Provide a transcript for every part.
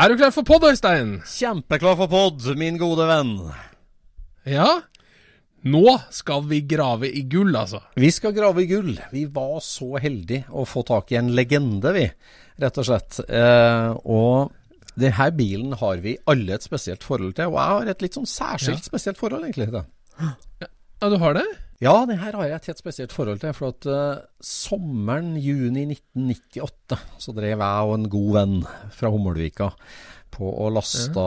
Er du klar for podd, Øystein? Kjempeklar for pod, min gode venn. Ja? Nå skal vi grave i gull, altså. Vi skal grave i gull. Vi var så heldige å få tak i en legende, vi. Rett og slett. Eh, og denne bilen har vi alle et spesielt forhold til. Og jeg har et litt sånn særskilt spesielt forhold, egentlig. til den. Ja, du har det? Ja, den her har jeg et helt spesielt forhold til. For at eh, sommeren juni 1998 så drev jeg og en god venn fra Hummelvika på å lasta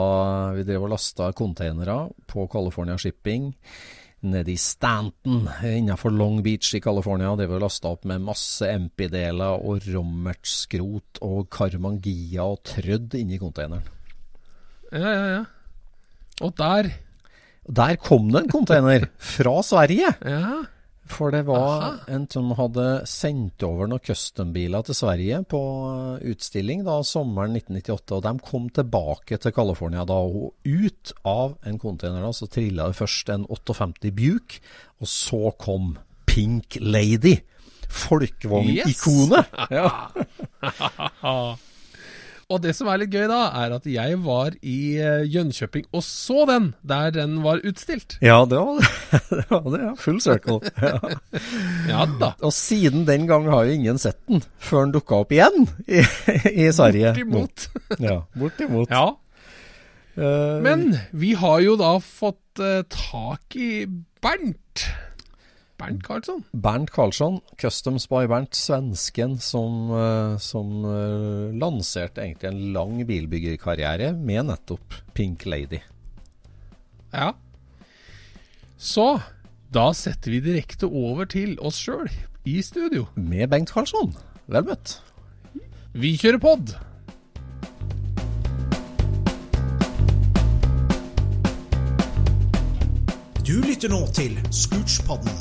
Vi drev og lasta containere på California Shipping nede i Stanton innenfor Long Beach i California. Og drev og lasta opp med masse MP-deler og rommertskrot og Carmangia og trødd inni containeren. Ja, ja, ja. Og der Og Der kom det en container fra Sverige! Ja. For det var en som hadde sendt over noen custom-biler til Sverige på eh, utstilling da sommeren 1998. Og de kom tilbake til California da. Og ut av en container da, så trilla det først en 58 Buick, og så kom Pink Lady. Folkevognikonet! Ja. Og det som er litt gøy, da, er at jeg var i eh, Jönköping og så den der den var utstilt. ja, det var det. Var det ja. Full circle. Ja. Ja da. Og siden den gang har jo ingen sett den, før den dukka opp igjen i, i Sverige. Bortimot. Ja, bortimot. Ja. Eh, Men vi har jo da fått eh, tak i Bernt. Bernt Karlsson. Bernt Karlsson, Customs by Bernt, svensken som, eh, som eh, lanserte egentlig en lang bilbyggerkarriere med nettopp Pink Lady. Ja. Så da setter vi direkte over til oss sjøl i studio. Med Bengt Karlsson. Vel møtt. Vi kjører pod! Du lytter nå til Scootspodden,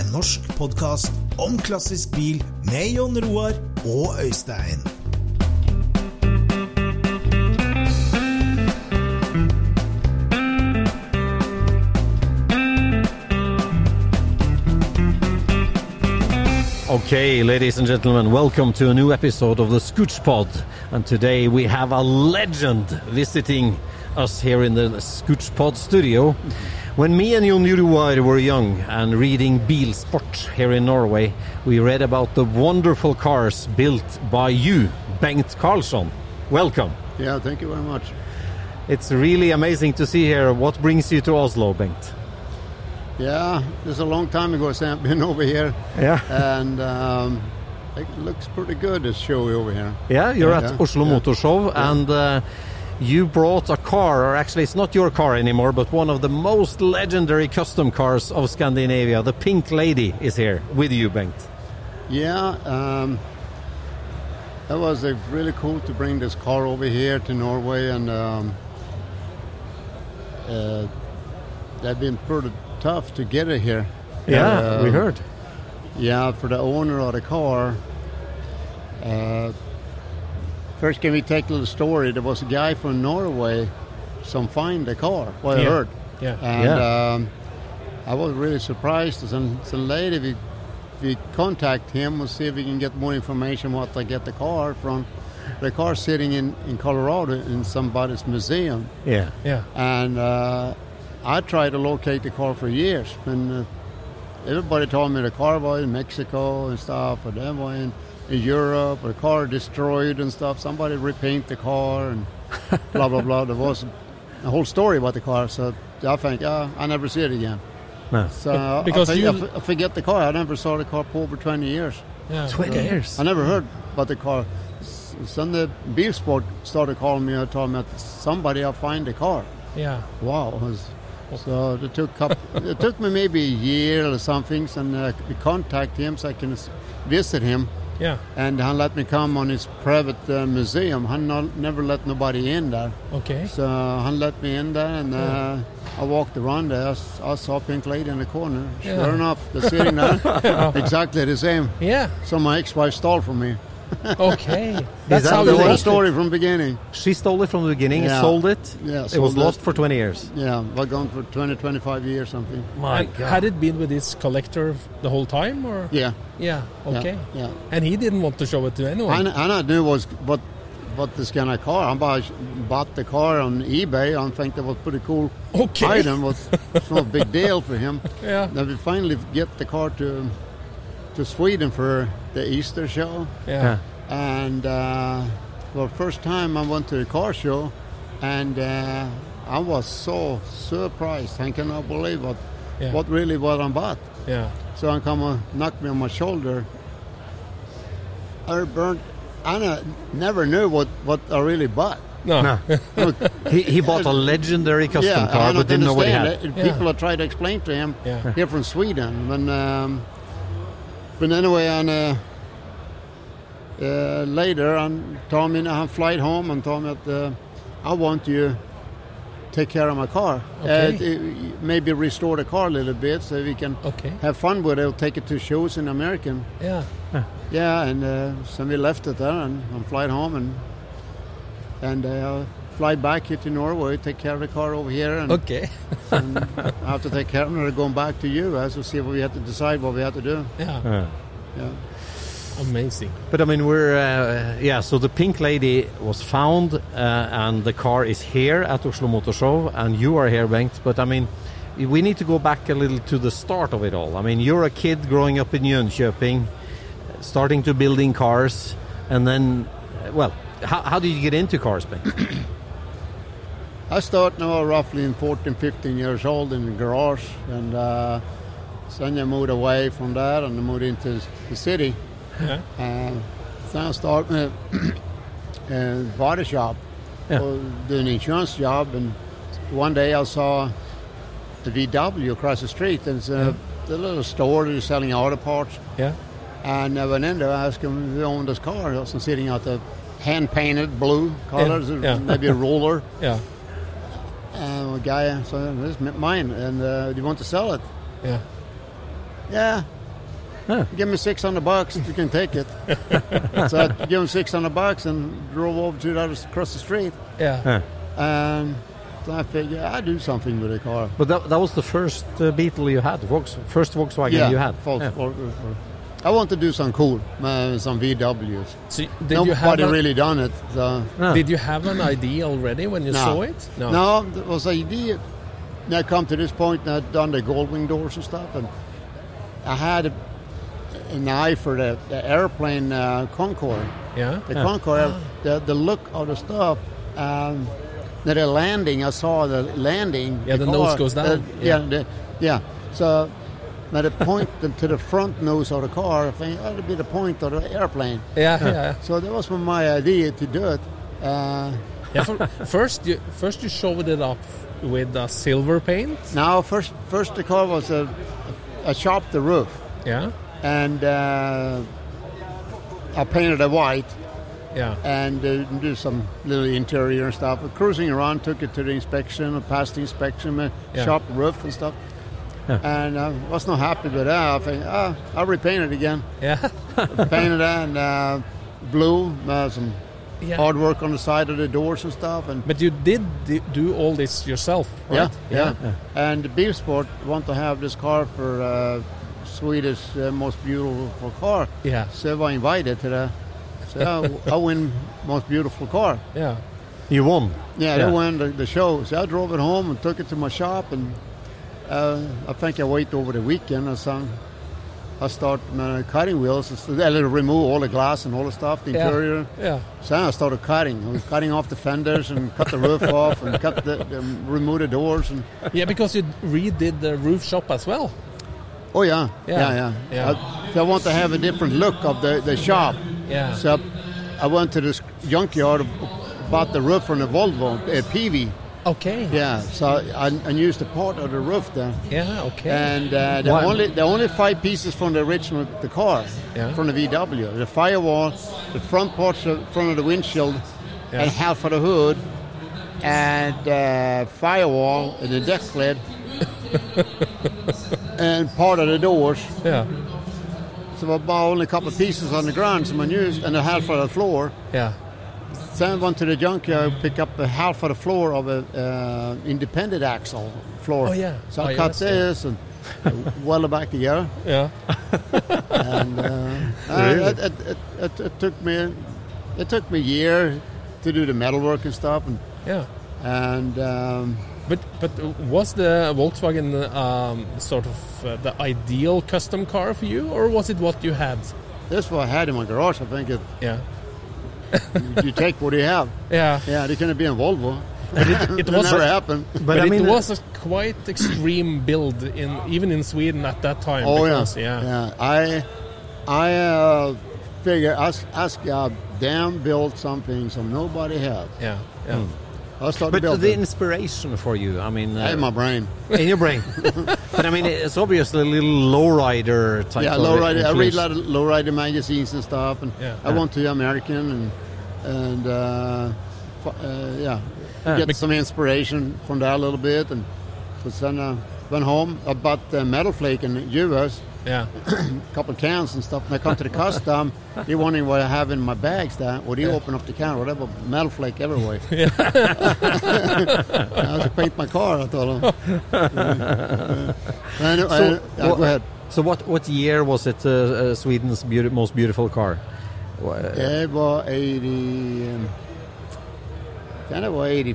en norsk podkast om klassisk bil med Jon Roar og Øystein. Okay, ladies and gentlemen, welcome to a new episode of the Scooch Pod. And today we have a legend visiting us here in the Scooch Pod studio. When me and Jon Juruar were young and reading Bilsport here in Norway, we read about the wonderful cars built by you, Bengt Karlsson. Welcome. Yeah, thank you very much. It's really amazing to see here. What brings you to Oslo, Bengt? Yeah, it's a long time ago since I've been over here. Yeah. And um, it looks pretty good, this show over here. Yeah, you're at Yeah, Oslo yeah. Motor Show, and uh, you brought a car, or actually, it's not your car anymore, but one of the most legendary custom cars of Scandinavia. The Pink Lady is here with you, Bengt. Yeah, um, that was uh, really cool to bring this car over here to Norway, and um, uh, they've been pretty tough to get it here. Yeah, we Um, heard. Yeah, for the owner of the car, Uh, first, can we take a little story? There was a guy from Norway, some find the car. Well, I Yeah. heard. Yeah. And uh, Yeah. Um, I was really surprised. Some, some lady, we, we contact him and see if we can get more information what they get the car from. The car sitting in, in Colorado in somebody's museum. Yeah. Yeah. And uh, I tried to locate the car for years. And uh, everybody told me the car was in Mexico and stuff, or that was in, in Europe, or the car destroyed and stuff. Somebody repaint the car and blah, blah, blah. There was a whole story about the car. So I think, uh, I never see it again. No. So Be- I because think- you- I f- I forget the car. I never saw the car for over 20 years. Yeah. 20 Uh, years? I never heard about the car. S- Sunday Beer Sport started calling me and told me that somebody I find the car. Yeah. Wow. it was- so it took couple, it took me maybe a year or something, and uh, we contact him so I can s- visit him. Yeah. And he let me come on his private uh, museum. He not, never let nobody in there. Okay. So he let me in there, and uh, I walked around there. I s- I saw Pink Lady in the corner. Sure Yeah. enough, they're sitting there, Yeah. exactly the same. Yeah. So my ex-wife stole from me. Okay. That's that how the the whole latest- story from beginning. She stole it from the beginning, Yeah. sold it. Yeah, it was sold lost it. for 20 years. Yeah, we're gone for 20, 25 years something. My And had it been with this collector f- the whole time, or Yeah. yeah, Yeah, okay, yeah. and he didn't want to show it to anyone. I, kn- I not knew was what what this kind of car. I bought, bought the car on eBay. I think that was pretty cool Okay. item. Was it's not a big deal for him. Yeah. Then we finally get the car to to Sweden for the Easter show, Yeah. and uh, well, first time I went to a car show, and uh, I was so surprised. I cannot believe what Yeah. what really what I bought. yeah, So I come and knocked me on my shoulder. I burned. I ne- never knew what, what I really bought. no, Look, He, he bought a legendary custom yeah, I car, but don't didn't know what he had. understand. had. People Yeah. are trying to explain to him Yeah. here from Sweden. But, um, but anyway, and uh, uh, later, and told me I flight home and told me that uh, I want you take care of my car. Okay. Uh, t- maybe restore the car a little bit so we can okay, have fun with it. I'll take it to shows in American. yeah, Yeah, and uh, so we left it there and, and flight home and and uh, fly back here to Norway, take care of the car over here, and, okay, and I have to take care of it. and going back to you as we see what we have to decide what we have to do. yeah, Yeah. Yeah, amazing. But I mean, we're uh, yeah. So the Pink Lady was found, uh, and the car is here at Oslo Motor Show, and you are here, Bengt. But I mean, we need to go back a little to the start of it all. I mean, you're a kid growing up in Jönköping, starting to building cars, and then, uh, well, how, how did you get into cars, Bengt? I start now roughly in 14, 15 years old in the garage, and uh, then I moved away from that and I moved into the city. Yeah. Uh, so I start with a body shop, Yeah. or do an insurance job, and one day I saw the VW across the street, and it's a, a little store that was selling auto parts. Yeah, Uh, And I went in there, I asked him who owned this car. It was sitting out the hand painted blue colors, yeah. maybe a roller. yeah, And a guy said, This is mine, and uh, do you want to sell it? yeah, Yeah. Give me 600 bucks, you can take it. so I gave him 600 bucks and drove over to the other, across the street. yeah. And so I figured I'd do something with the car. But that, that was the first uh, Beetle you had, Volks, first Volkswagen you had. Volks- Yeah. or- or- or- I want to do some cool, uh, some VWs. So y- did you have Nobody a- really done it. So. Yeah. Did you have an idea already when you saw it? No. there was an idea. And I come to this point and I'd done the Goldwing doors and stuff, and I had a, an eye for the, the airplane uh, Concorde. Yeah. Ah. The Concorde, the, the look of the stuff. Um, the- the landing, I saw the landing. Yeah, the nose goes down. uh, yeah, Yeah. the- yeah. So, now the point to the front nose of the car, I think that'd be the point of the airplane. Yeah, yeah. So that was my idea to do it. Uh, yeah for, first, you first you showed it up with a silver paint. Now, first, first the car was a, a shop the roof, Yeah, and uh, I painted it white yeah, and uh, do some little interior stuff. Cruising around, took it to the inspection, and passed the inspection, uh, Yeah. shop roof and stuff. And I was uh, not happy with that. I think, ah, I'll repaint it again. yeah, painted it and uh, blue, uh, some hard work on the side of the doors and stuff. And But you did d- do all this yourself, yeah, right? yeah, And Beef Sport want to have this car for uh, Swedish uh, most beautiful car. Yeah. So I was invited to the. So I, I win most beautiful car. Yeah. You won. Yeah, they won the, the show. So I drove it home and took it to my shop, and uh, I think I waited over the weekend or something. I start my cutting wheels. It's- I had to remove all the glass and all the stuff, the Yeah, interior. yeah. So I started cutting. I was cutting off the fenders and cut the roof off and cut the, the remove the doors and Yeah, because you redid the roof shop as well. Oh yeah, Yeah. yeah, yeah. Yeah. I, so I want to have a different look of the, the shop. Yeah. So I went to this junkyard, bought the roof from the Volvo uh, PV. Okay. Yeah. So I, I used a part of the roof there. Yeah, okay. And uh, the Why- only the only five pieces from the original the car Yeah. from the VW, the firewall, the front parts of front of the windshield, Yeah. and half of the hood, and uh, firewall and the deck lid, and part of the doors. Yeah. So I bought only a couple of pieces on the ground, some unused, and a half of the floor. Yeah. Then I went to the junkyard, pick up the half of the floor of a uh, independent axle floor. Oh, yeah. So Oh, I yeah, cut that's good. this and weld it back together. Yeah. and uh, uh, Really? it, it, it, it, it took me it took me a year to do the metal work and stuff. And Yeah. and um, But but was the Volkswagen um, sort of uh, the ideal custom car for you, or was it what you had? this what I had in my garage. I think it, Yeah. you, you take what you have. Yeah. Yeah, they couldn't be in Volvo. It That was never happened. But, it was a quite extreme build in even in Sweden at that time. Oh because, yeah, yeah. yeah. I, I uh, figure us us uh, damn build something so nobody has. Yeah, yeah. Hmm. I start But the building. inspiration for you, I mean, uh, In my brain. in your brain. but I mean, it's obviously a little lowrider type. yeah, of lowrider. I read influence. a lot of lowrider magazines and stuff, and Yeah. I went to American and and uh, fu- uh, yeah, Yeah. get some inspiration from there a little bit, and so then I went home. I bought uh, metal flake in the U.S. Yeah. couple of cans and stuff. And I come to the custom, they wondering what I have in my bags. That well, they open up the can, whatever metal flake everywhere. I have to paint my car. I told them. And, uh, So, yeah, what- go ahead. So what? What year was it? Uh, uh, Sweden's beauti- most beautiful car. Wha- It was eighty. Um, kind of was 80,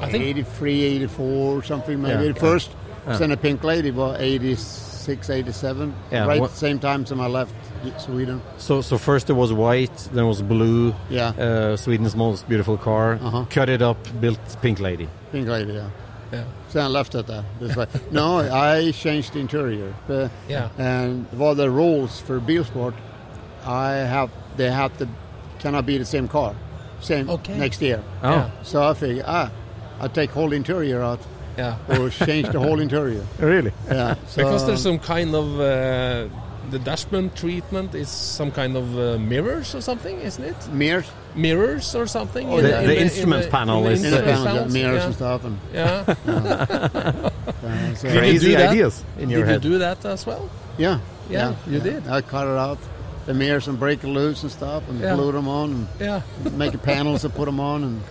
I think 83, 84, something maybe. Yeah. Uh. At first, Yeah. sent a pink lady was 86, 87. Yeah, right what- same time as I left Sweden. So, so first there was white, then was blue. Yeah. Uh, Sweden's most beautiful car. Uh-huh. Cut it up, built Pink Lady. Pink lady, yeah. yeah. So I left it there. It's like, no, I changed the interior. Uh, Yeah. And what the rules for Bilsport, I have they have to cannot be the same car, same Okay. next year. Oh. Yeah. So I figure ah, I take whole interior out Yeah. Uh, or change the whole interior. Really? Yeah. So, Because there's some kind of uh, the dashboard treatment is some kind of uh, mirrors or something, isn't it? mirrors, Mirrors or something. Oh, The- the instrument panel is- in the Yeah. panels, yeah, panels, mirrors yeah. and stuff, and Yeah. uh, so- Did you do Crazy that? ideas in your Did head. you do that as well? yeah, Yeah, you did. I cut it out, the mirrors and break it loose and stuff, and Yeah. glued them on, Yeah. and make the panels and put them on, and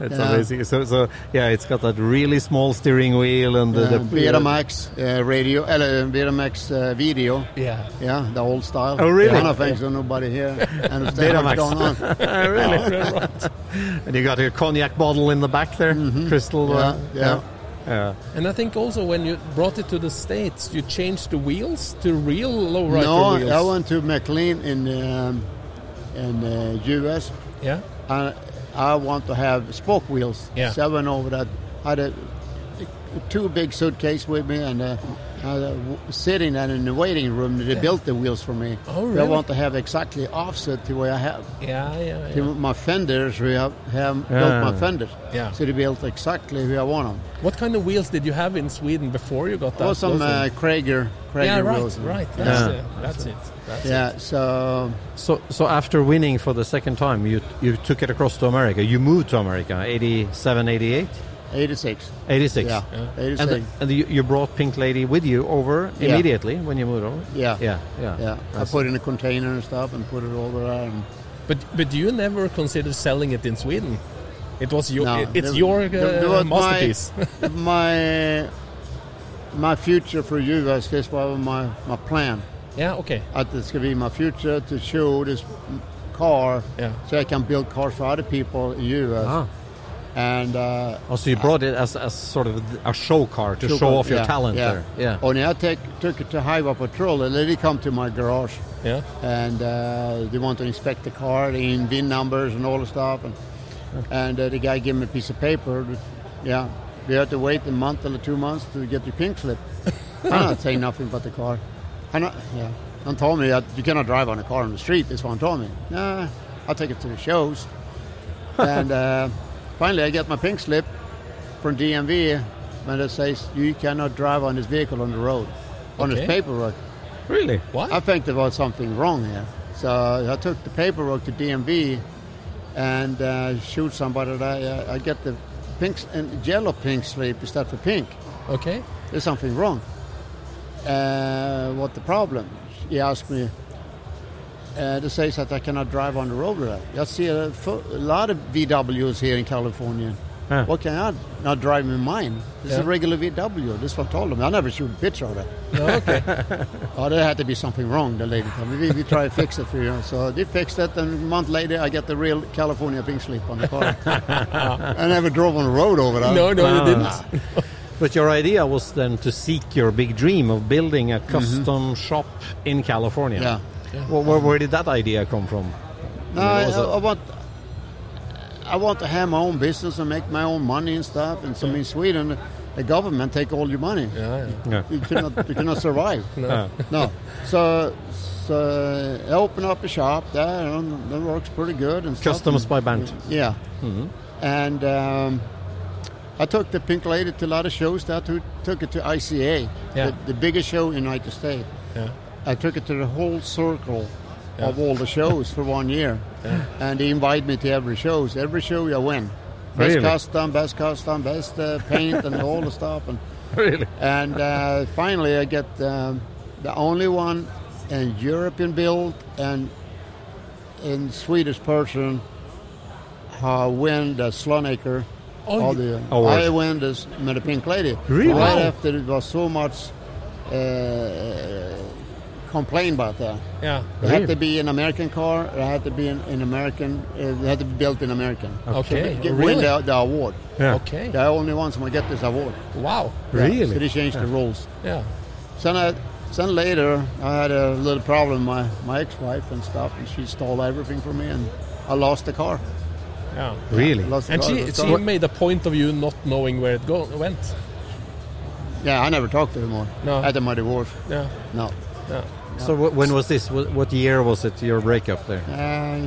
It's Yeah. amazing. So, so yeah, it's got that really small steering wheel and the, Uh, the Betamax uh, radio, eller Betamax uh, video. Yeah. Yeah, the old style. Oh, really? One of things that nobody here understands what's Betamax. going on. really? and you got your cognac bottle in the back there, Mm-hmm. crystal. Yeah, uh, yeah. yeah. And I think also when you brought it to the States, you changed the wheels to real lowrider no, wheels. I went to McLean in um, in uh, U.S. Yeah. I, I want to have spoke wheels. Yeah. So I went over that. had a, two big suitcase with me and uh, I was, uh, w- sitting there in the waiting room. They built the wheels for me. Oh, I really? want to have exactly offset to where I have. Yeah, yeah, See, yeah. Ah. my fenders, we have, have Yeah. built my fenders. Yeah. So they built exactly where I want them. What kind of wheels did you have in Sweden before you got that? Or some Those uh, ones? Krager, Krager yeah, right, wheels. right. Yeah. That's, it. That's it. That's it. Yeah, so So, so after winning for the second time, you you took it across to America. You moved to America, 87, 88? 86. 86. Yeah. And, 86. the- and you, you brought Pink Lady with you over Yeah. immediately when you moved over? yeah. Yeah. Yeah. I, I see. put it in a container and stuff and put it over there. And But but you never considered selling it in Sweden. It was your No, it- it's that- your uh, that- that was my- masterpiece. my my future for you guys. This was my my plan. Yeah, okay. At this could be my future to show this car, so I can build cars for other people in U.S. Ah. And uh, Oh, so you brought it as, as sort of a show car to Took show it- off your yeah, talent yeah. Oh. there. Yeah. Only I take, took it to highway patrol. and They come to my garage. Yeah. And uh, they want to inspect the car, the in- VIN numbers and all the stuff. And, and uh, the guy gave me a piece of paper. Yeah. We had to wait a month or two months to get the pink slip. I'm not saying nothing about the car. I not, yeah. And told me that you cannot drive on a car on the street. This one told me. Nah, I'll take it to the shows. and uh, finally, I get my pink slip from DMV, and it says you cannot drive on this vehicle on the road, on this Okay. paperwork. Really? What? I think there was something wrong here. So I took the paperwork to DMV and uh, shoot somebody. That I, I get the pink s- and yellow pink slip instead for pink. Okay. There's something wrong. Uh, what the problem? He asked me. Uh, it says that I cannot drive on the road with that. I see a, fo- a lot of VWs here in California. Huh. What can I not drive in mine? This is a Yeah. regular VW. This one told them. I never shoot a picture of it. okay. oh, there had to be something wrong, the lady told me. We, we try to fix it for you. So they fixed it, and a month later, I get the real California pink slip on the car. I never drove on the road over there. but your idea was then to seek your big dream of building a custom shop in California. Mm-hmm. Yeah. Well, where, where did that idea come from? No, I mean, I, was I, want I want to have my own business and make my own money and stuff. And so in Sweden, the government take all your money. Yeah, Yeah. You, cannot you cannot survive. No. Yeah. no. So, so I open up a shop there, and that works pretty good. And stuff. Customers by Bernd. Yeah. Mm-hmm. Mhm. And um, I took the Pink Lady to a lot of shows. That who took it to ICA, Yeah. the, the biggest show in United States. Yeah. I took it to the whole circle Yeah. of all the shows for one year, Yeah. and they invited me to every shows. Every show I win, best Really? custom, best custom, best uh, paint, and all the stuff. And Really? and uh, finally, I get um, the only one in European build and in Swedish person uh, win the Slonaker. Oh, All you- the, Award. I win this with the Pink Lady. Really? Right Wow. after it was so much uh, complained about that. Yeah. It had to be an American car. It had to be an, an American. uh, It had to be built in American. Okay, To get- really? Win the, the award. Yeah. Okay. They're the only ones who get this award. Wow. Yeah, Really? So they changed the Yeah. rules. Yeah. Then, I, then later, I had a little problem with my, my ex-wife and stuff, and she stole everything from me, and I lost the car. Yeah. I lost the And car. It she, was she stolen. made a point of you not knowing where it go, went. Yeah, I never talked to her more. No. At the Mighty Wharf. Yeah. No. Yeah. So wh- when was this? Wh- What year was it? Your breakup there? Uh,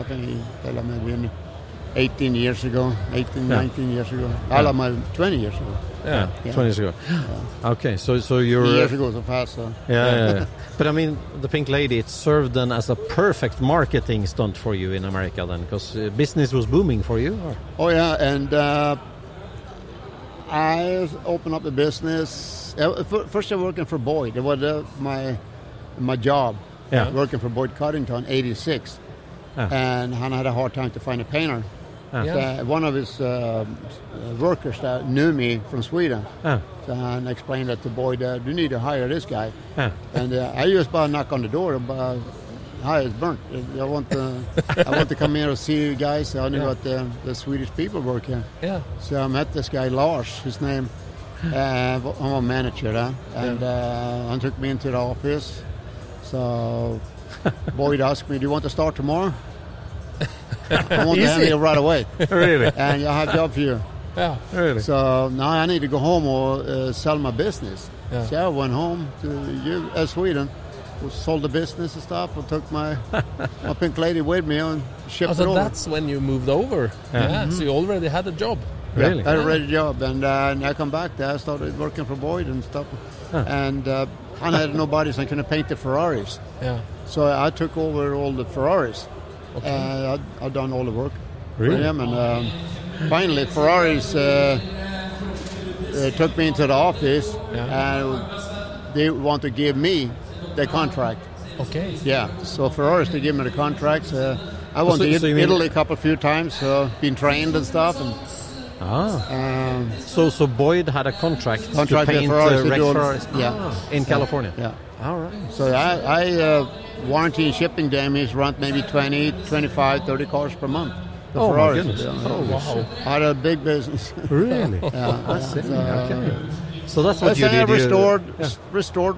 I think I love maybe 18 years ago, 18, Yeah. 19 years ago. Yeah. I love my 20 years ago. Yeah, 20 years ago. Okay, so so you're Years ago, so fast. uh, So. Yeah, yeah, yeah. but I mean, the Pink Lady it served then as a perfect marketing stunt for you in America then, because uh, business was booming for you. Or? Oh yeah, and uh, I opened up a business. Uh, fir- First, I was working for Boyd. It was uh, my my job. Yeah. Working for Boyd Coddington, '86, Ah. and Han had a hard time to find a painter. Ah. So, Yeah. one of his um, uh, workers that knew me from Sweden, Ah. so, and explained that to Boyd, uh, "You need to hire this guy." Ah. And uh, I just about knock on the door, but uh, hi, it's Bernd. I want to, I want to come here and see you guys. I knew Yeah. that the, the Swedish people work here. Yeah. So I met this guy Lars, his name. Uh, I'm a manager, huh? and uh, he took me into the office. So Boyd asked me, "Do you want to start tomorrow?" I want to have Easy. you right away. Really? And I have a job for you. Yeah. Really? So now I need to go home or uh, sell my business. Yeah. So I went home to U- uh, Sweden, sold the business and stuff, and took my, my pink lady with me and shipped Oh, it so over. that's when you moved over. Yeah. Yeah. So you already had a job. Mm-hmm. Yeah, I had a ready job, and, uh, and I come back there. I started working for Boyd and stuff, and uh, I had nobody so I couldn't paint the Ferraris. Yeah. So I took over all the Ferraris. Uh, I I done all the work Really? for him, and um, finally, Ferraris uh, uh, took me into the office and they want to give me the contract. Okay. Yeah, so Ferraris, they give me the contracts. Uh, I went So- to so you It- mean- Italy a couple few times, so been trained and stuff. And Um, Ah. so so Boyd had a contract, contract to with paint Ferraris, uh, they Rex do all- Ferraris yeah. Ah, in Yeah. California. Yeah. All right. So I, I uh, warranty and shipping damage around maybe 20, 25, 30 cars per month. The Oh, my Ferraris. goodness. Oh, wow. Out of big business. Really? yeah. I see. yeah. So, Okay. So that's what that's you how I did. You- restored, Yeah. restored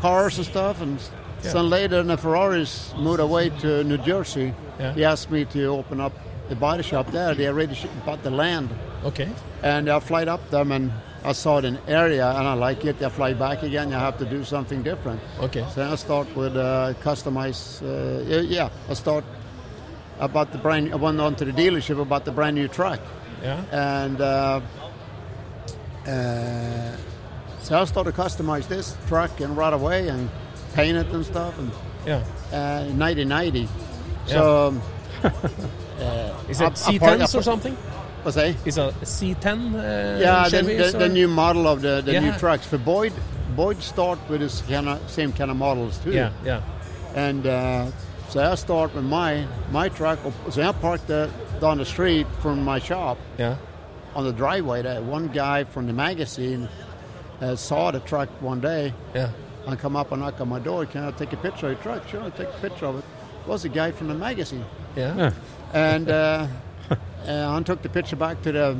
cars and stuff. And Yeah. then later, when the Ferraris moved away to New Jersey, Yeah. he asked me to open up the body shop there. They already sh- bought the land. Okay. And I flight up them and I saw it in area and I like it. I fly back again. I have to do something different. Okay. So I start with uh, customize. Uh, yeah, yeah, I start about the brand. I went on to the dealership about the brand new truck. Yeah. And uh, uh, so I started customize this truck and right away and paint it and stuff. And Yeah. Uh, 1990. So. uh, Is it I- I part- I C10s or part- something? What's that? Is a C10? Uh, yeah, the, Chevys the, or- the new model of the, the new Yeah. trucks. For Boyd, Boyd start with his kind of, same kind of models too. Yeah, yeah. And uh, so I start with my my truck. So I parked the, down the street from my shop. Yeah. On the driveway, there one guy from the magazine uh, saw the truck one day. Yeah. And come up and knock on my door. Can I take a picture of your truck? Sure, I'll take a picture of it. It was a guy from the magazine Yeah. and uh, uh, I took the picture back to the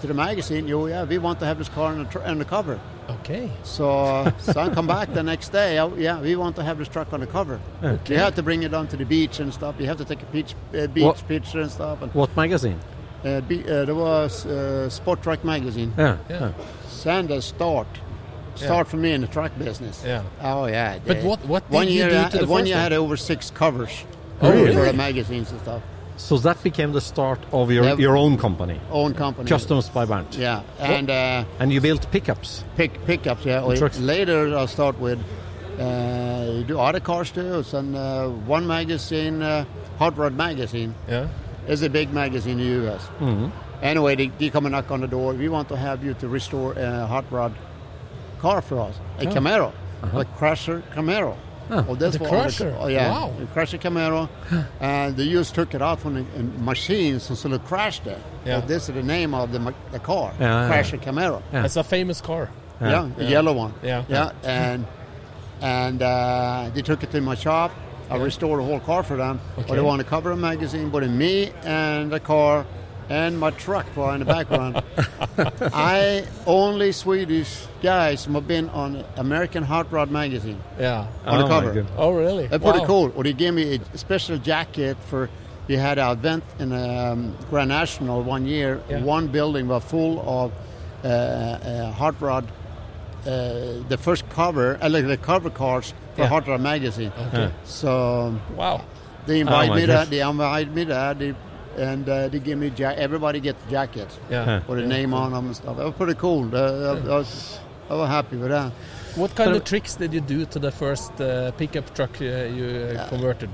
to the magazine. You yeah, we want to have this car on the, tr- on the cover. Okay. So, uh, so I come back the next day. I, yeah, we want to have this truck on the cover. Okay. You have to bring it onto the beach and stuff. You have to take a beach, uh, beach What- picture and stuff. And, What magazine? uh, be, uh, there was uh, Sport Truck magazine. Yeah, yeah. Sanders start. Yeah. Start for me in the truck business. Yeah. Oh yeah. But they- what- what one did you year do I- to the one first year I one? had over six covers Oh, for really? the magazines and stuff. So that became the start of your, Yeah. your own company. Own company. Customs by Bernd. Yeah, and uh, And you built pickups. pick pickups. Yeah, And trucks. later I'll start with uh, you do other cars too. It's on uh, one magazine, uh, Hot Rod magazine. Yeah. it's a big magazine in the U.S. Mm-hmm. Mhm. Anyway, they, they come and knock on the door. We want to have you to restore a hot rod car for us, a Oh. Camaro, a Crusher Camaro. Huh. Oh, that's The what all Crusher. oh, yeah, Wow. the Crusher Camaro. and the U.S. took it out from the uh, machines and sort of crashed it. Yeah. So this is the name of the, ma- the car, Yeah, yeah, Crusher Camaro. That's a famous car. Yeah, the yellow one. Yeah. yeah, and and uh, they took it to my shop. I restored the whole car for them. But Okay. they want to cover a magazine, but in me and the car and my truck were in the background. I only Swedish guys have been on American Hot Rod magazine. Yeah. on Oh, the my cover. goodness. Oh, really? That's pretty Wow. cool. Or they gave me a special jacket for. We had an event in um, Grand National one year. Yeah. One building was full of uh, uh, hot rod. Uh, the first cover, uh, like the cover cards for Yeah. Hot Rod magazine. Okay. Yeah. So wow, they Oh, invited my me there. goodness. They invited me there. They, and uh, they gave me ja- everybody gets jackets Yeah. Huh. with a Yeah, name cool. on them and stuff. That was pretty cool. Uh, I, I was, I was happy with that. What kind of tricks did you do to the first uh, pickup truck uh, you uh, converted?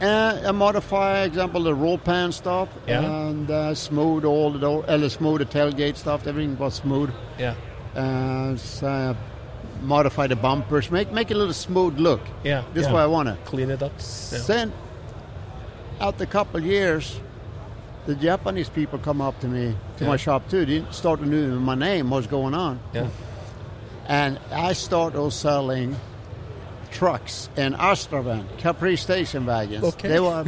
Uh, I modify, example, the roll pan stuff, Yeah. and uh, smooth all the door, uh, smooth the tailgate stuff. Everything was smooth. Yeah. Uh, so I modify the bumpers, make make it a little smooth look. Yeah. this is yeah. what I wanted. Clean it up. Yeah. Then, after a couple years, the Japanese people come up to me to Yeah. my shop too. They started knowing my name, what's going on, Yeah. and I started selling trucks and Astrovan, Capri station wagons. Okay. They were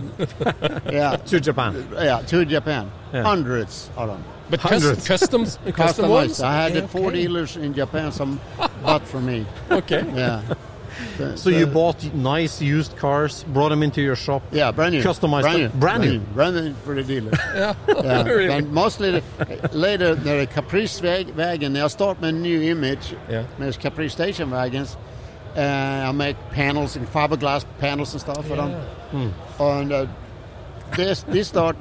yeah. To Japan. Yeah, to Japan. Yeah. Hundreds of them. But cus- Hundreds. customs, custom ones? I had Yeah, four okay. dealers in Japan, some bought for me. Okay. Yeah. So, So you bought nice used cars, brought them into your shop. Yeah, brand new. Customized Brand new. them. Brand new. Brand new for the dealer. Yeah. Yeah. Really? And mostly the, later, the Caprice wag- wagon, I start my new image. Yeah. There's Caprice station wagons. And I make panels and fiberglass panels and stuff for them. And uh, this, this start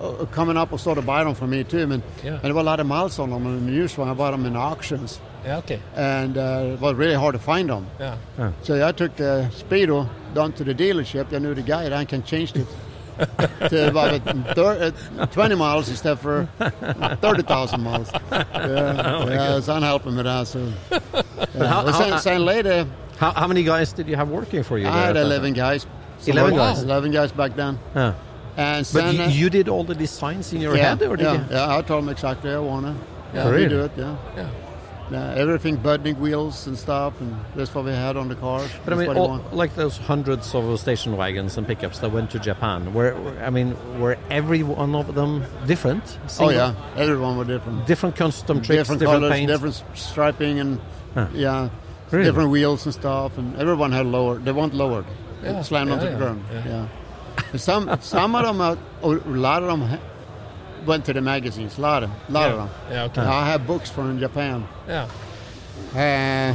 uh, coming up and started buying them for me too. And, Yeah. and there were a lot of miles on them. And the used one, I bought them in auctions. Yeah, okay. And uh, it was really hard to find them. Yeah. So I took the Speedo down to the dealership. I knew the guy, and I can change it to about thir- uh, 20 miles instead for 30,000 miles. Yeah, Oh my yeah God. it's unhelping with that. So. But how- how- Yeah, saying- saying later, How, how many guys did you have working for you? I there had at that time? 11 guys. 11 guys? 11 guys back then. Yeah. And But then, you, uh, you did all the designs in your yeah, head, or did yeah, you? yeah, I told them exactly I wanna. Yeah, Really? we do it. Yeah. Yeah. Yeah, everything burning wheels and stuff, and that's what we had on the cars. But I That's mean, what he all, wanted. like those hundreds of station wagons and pickups that went to Japan, were I mean, were every one of them different? oh Single- yeah, everyone were different. different custom tricks, different, different, colors, paints. different striping, and Huh. yeah, Really? different wheels and stuff. And everyone had lowered. They weren't lowered. They Yeah, slammed yeah, onto the yeah, ground. yeah. Yeah. And some some of them, uh, or a lot of them, ha- went to the magazines. A lot of, lot Yeah. of them. Yeah, okay. I have books from Japan. Yeah. Uh,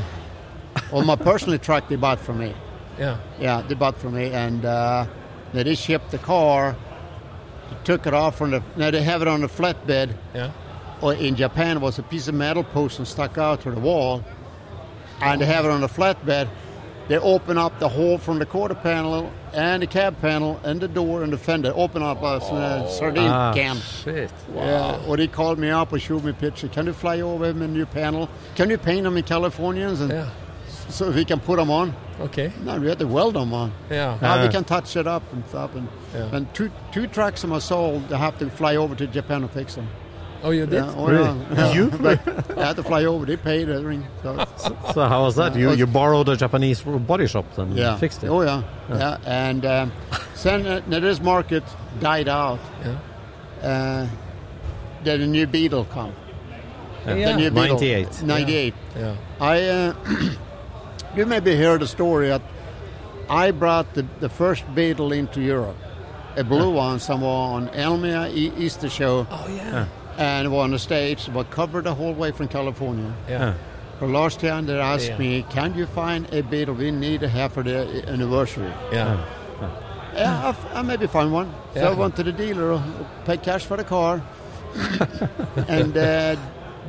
on my personal truck, they bought from me. Yeah. Yeah, they bought from me, and uh, they just shipped the car. They took it off from the. Now they have it on the flatbed. Yeah. Or in Japan, it was a piece of metal post and stuck out to the wall, and they have it on the flatbed. They open up the hole from the quarter panel and the cab panel and the door and the fender. Open up a uh, sardine Ah, can. shit. Wow. Yeah, or they called me up and showed me a picture. Can you fly over them in your panel? Can you paint them in Californians? And Yeah. So we can put them on. Okay. No, we had to weld them on. Yeah. Now Ah. we can touch it up and stuff. And, Yeah. and two two trucks of my sold. I have to fly over to Japan and fix them. Oh, you did? Yeah, oh, Really? yeah, yeah. You? But I had to fly over. They paid everything. So, So how was that? Yeah, You it you borrowed a Japanese body shop and yeah. fixed it. Oh yeah, yeah. And um, then uh, now this market died out. Yeah. Uh, then the new Beetle come. Yeah. The Yeah. new Beetle. 98. Ninety-eight. Yeah. I. Uh, you maybe heard the story that I brought the, the first Beetle into Europe, a blue one somewhere on Elmia e- Easter show. Oh yeah. And were on the stage, but covered the whole way from California. Yeah. For last year, they asked Yeah. me, "Can you find a beetle? We need a half for the anniversary." Yeah. Yeah, I f- I, maybe find one. So I Yeah. went to the dealer, paid cash for the car, and uh,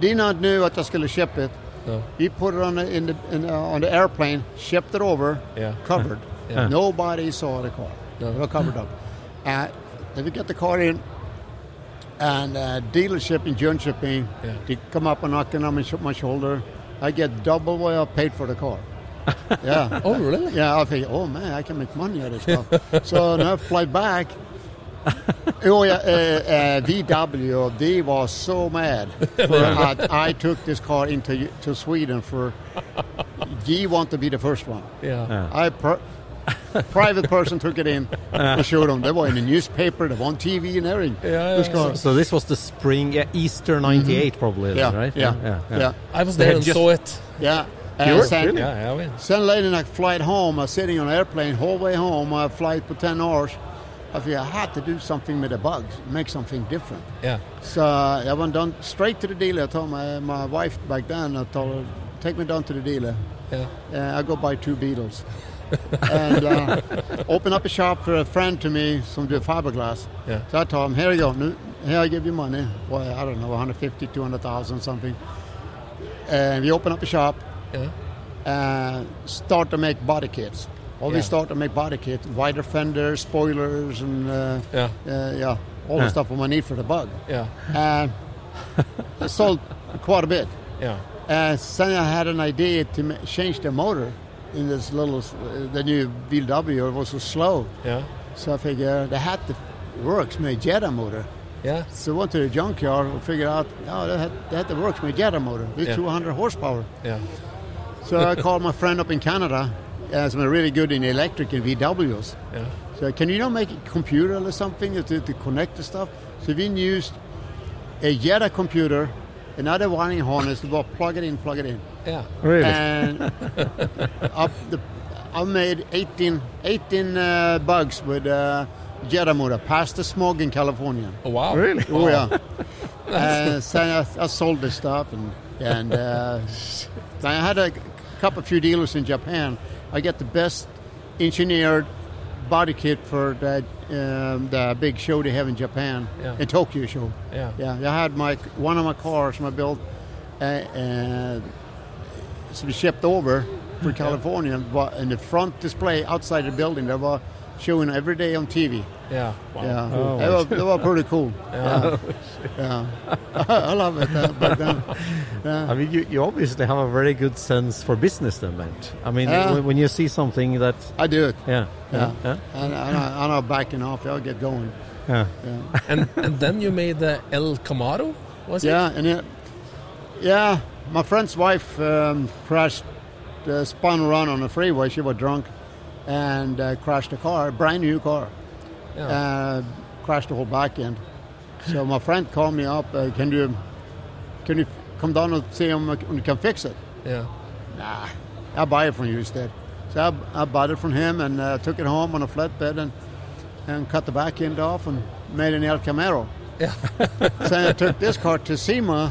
did not knew that I skulle ship it. No. He put it on the, in the in, uh, on the airplane, shipped it over, Yeah. covered. Yeah. Nobody saw the car. No. It was covered up. Uh, then we got the car in, and uh, dealership in June shipping, they come up and knocking on my, sh- my shoulder. I get double what I paid for the car. Yeah. Oh, really? Yeah, I think, oh man, I can make money out of this stuff. so now I fly back. oh yeah, uh, uh, VW, they was so mad. for I, I took this car into to Sweden for. He want to be the first one. Yeah. Yeah. I per, private person took it in Uh. and showed them. They were in the newspaper, they were on TV and everything. This car. Mm-hmm. So, so this was the spring, yeah, Easter '98 probably, then, Yeah, right? yeah, yeah. I was They there had and just- saw it. Yeah. You And were? then- Really? Yeah, yeah, yeah. Then later in a flight home, I was sitting on an airplane, whole way home, I flight for 10 hours. I feel I had to do something with the bugs, make something different. Yeah. So I went down straight to the dealer. I told my, my wife back then, I told her, take me down to the dealer. Yeah. Uh, I go buy two Beatles. and uh, open up a shop for a friend to me, some do fiberglass. Yeah. So I told him, here you go, nu- here I give you money. Well, I don't know, 150, 200,000 something. And we open up a shop, Yeah. uh, start to make body kits. Well, we Yeah. start to make body kits, wider fenders, spoilers, and uh, Yeah. uh, yeah, all Yeah. the stuff we need for the bug. Yeah. Uh, I sold quite a bit. Yeah. Uh, suddenly I had an idea to ma- change the motor in this little, uh, the new VW. It was so slow. Yeah. So I figured they had to works with a Jetta motor. Yeah. So I went to the junkyard and figured out, oh, they had, they had to works with a Jetta motor with Yeah. 200 horsepower. Yeah. So I called my friend up in Canada, as I'm really good in electric and VWs. Yeah. So can you not make a computer or something to, to connect the stuff? So we used a Jetta computer, another wiring harness, to both plug it in, plug it in. Yeah. Really? And up the, I made 18, 18 uh, bugs with uh, Jetta motor, past the smog in California. Oh, wow. Really? Oh, Wow. yeah. and Uh, so I, I sold the stuff, and, and uh, then I had a couple few dealers in Japan. I get the best engineered body kit for that um, the big show they have in Japan, Yeah. in Tokyo show. Yeah. yeah. I had my one of my cars, my built, uh, uh, so we shipped over for California, but in the front display outside the building there were showing every day on TV. Yeah. Wow. Yeah. Oh, they, wow. Oh, were, they were pretty cool. Yeah. Yeah. yeah. I love it. uh, But, uh, yeah. I mean, you, you obviously have a very good sense for business, then, Bent. I mean, Yeah. when, when you see something that I do it. Yeah, Yeah. yeah, yeah. And, and I, I'm not backing off. I'll get going. Yeah. and and then you made the El Camaro, was yeah, it? and it, yeah, my friend's wife um, crashed, uh, spun around on the freeway. She was drunk, and uh, crashed a car, a brand new car, Yeah. uh, crashed the whole back end. So my friend called me up. Uh, can you, can you come down and see him uh, and you can fix it? Yeah. Nah, I'll buy it from you instead. So I, I bought it from him and uh, took it home on a flatbed and and cut the back end off and made an El Camaro. Yeah. so I took this car to SEMA.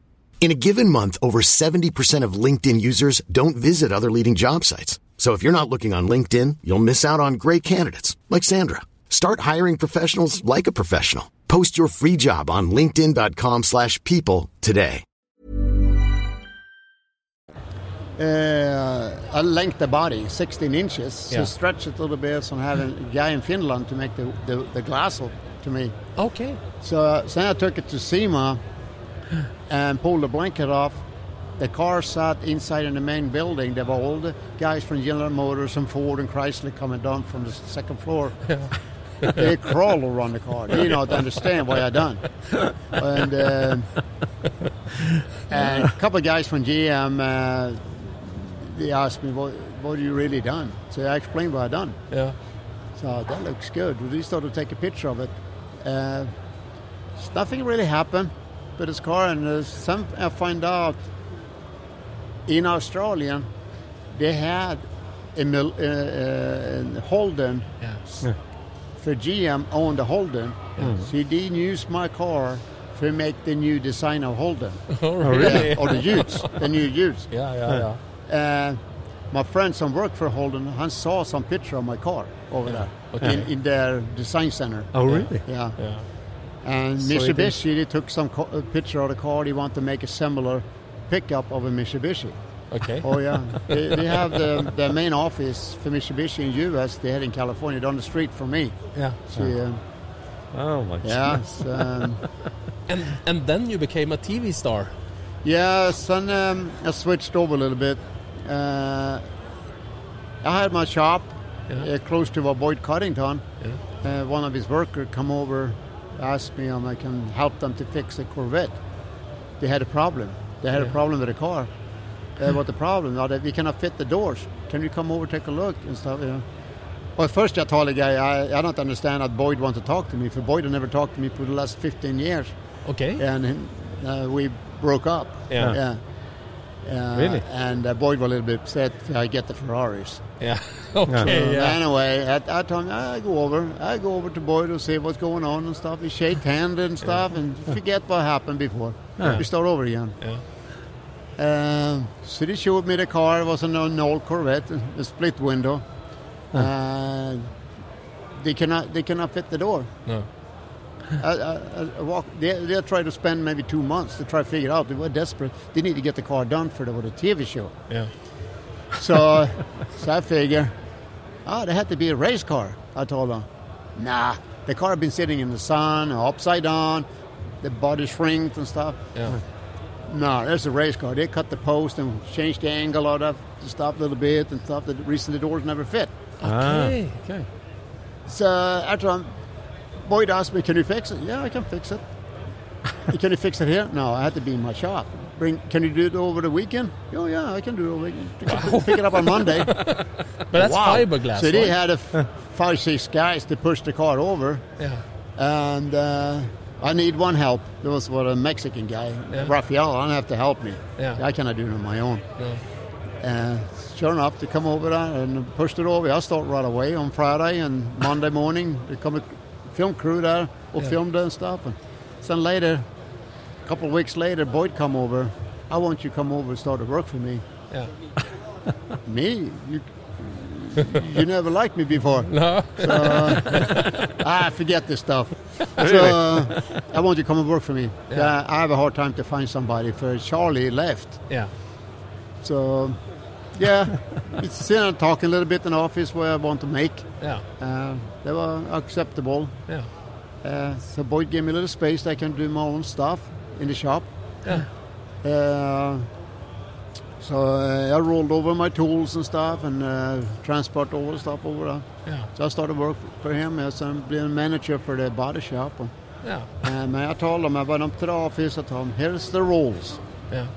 In a given month, over 70% of LinkedIn users don't visit other leading job sites. So if you're not looking on LinkedIn, you'll miss out on great candidates like Sandra. Start hiring professionals like a professional. Post your free job on linkedin.com/people slash people today. Uh, I length the body 16 inches, so Yeah. stretch it a little bit. So I have a guy in Finland to make the, the, the glass up to me. Okay. So, uh, so I took it to SEMA and pulled the blanket off. The car sat inside in the main building. There were all the guys from General Motors and Ford and Chrysler coming down from the second floor. they crawl around the car. They don't understand what I done. And, um and a couple of guys from GM, uh, they asked me, what, what you really done? So I explained what I done. Yeah. So that looks good. We started to take a picture of it. Uh, s- nothing really happened with his car, and uh, some I find out in Australia they had a, mil, uh, uh, a Holden s- Yeah. for GM owned a Holden. Yeah. So he didn't use my car to make the new design of Holden. Oh, really? Yeah, or the Utes, the new Utes. Yeah, yeah, yeah. Uh, my friend some work for Holden, han saw some picture of my car over Yeah. there Okay. in, in their design center. Oh, really? Yeah. Yeah. And So it is- Mitsubishi, they took some co- uh, picture of the car. They want to make a similar pickup of a Mitsubishi. Okay. Oh yeah, they, they have the, the main office for Mitsubishi in U.S. They had in California, down the street from me. Yeah. So, yeah. Oh my Yeah, goodness. um, and and then you became a TV star. Yes, and um, I switched over a little bit. Uh, I had my shop Yeah. uh, close to uh, Boyd Coddington. Yeah. Uh, one of his workers come over, asked me if I can help them to fix a Corvette. They had a problem. They had Yeah. a problem with the car. Uh, what the problem? Oh, that we cannot fit the doors. Can you come over take a look and stuff? You know. Well, first I told the guy I, I don't understand that Boyd want to talk to me. For Boyd never talked to me for the last 15 years Okay. and uh, we broke up. Yeah. yeah. Uh, Really? And uh, Boyd was a little bit upset. I get the Ferraris. Yeah. Okay. So Yeah. Um, Anyway, at that time, "Ah, I go over. I go over to Boyd and see what's going on and stuff. We shake hands and stuff and forget what happened before. Yeah. We start over again. Yeah. Um, so they showed me the car. It was an, an old Corvette, a split window. Uh, they cannot they cannot fit the door. No. I, I, I walk, they, they tried to spend maybe two months to try to figure out. They were desperate. They need to get the car done for the, for the TV show. Yeah. So, so I figure, oh, there had to be a race car. I told them, nah, the car had been sitting in the sun, upside down, the body shrinked and stuff. Yeah. No, there's a race car. They cut the post and changed the angle of that stuff a little bit and stuff. The reason the doors never fit. Ah, Okay. Okay. So after I'm, Boyd asked me, "Can you fix it?" Yeah, I can fix it. "Can you fix it here?" No, I had to be in my shop. Bring, can you do it over the weekend? Oh yeah, I can do it over the weekend. Pick it up on Monday. But that's fiberglass, So right? they had a f- five, six guys to push the car over. Yeah. And uh, I need one help. There was what a Mexican guy, Yeah. Rafael. I don't have to help me. Yeah. I cannot do it on my own. No. And sure enough, they come over there and pushed it over. I start right away on Friday and Monday morning. They come a film crew there or Yeah. filmed and stuff. And then later, a couple of weeks later, Boyd come over. I want you to come over and start to work for me. Yeah. me? You, you never liked me before. No. So, Ah, I forget this stuff. Really? So uh, I want you to come and work for me. Yeah. Uh, I have a hard time to find somebody. For Charlie left. Yeah. So, yeah, it's still I'm talking a little bit in the office where I want to make. Yeah. Uh, they were acceptable. Yeah. Uh, so Boyd gave me a little space. that I can do my own stuff in the shop. Yeah. Uh, so uh, I rolled over my tools and stuff and uh, transport all the stuff over there. Yeah. So I started work for him as I'm being manager for the body shop. Eh, And, Yeah. and I told him, I went up to the office, I told him, here's the rules. Yeah.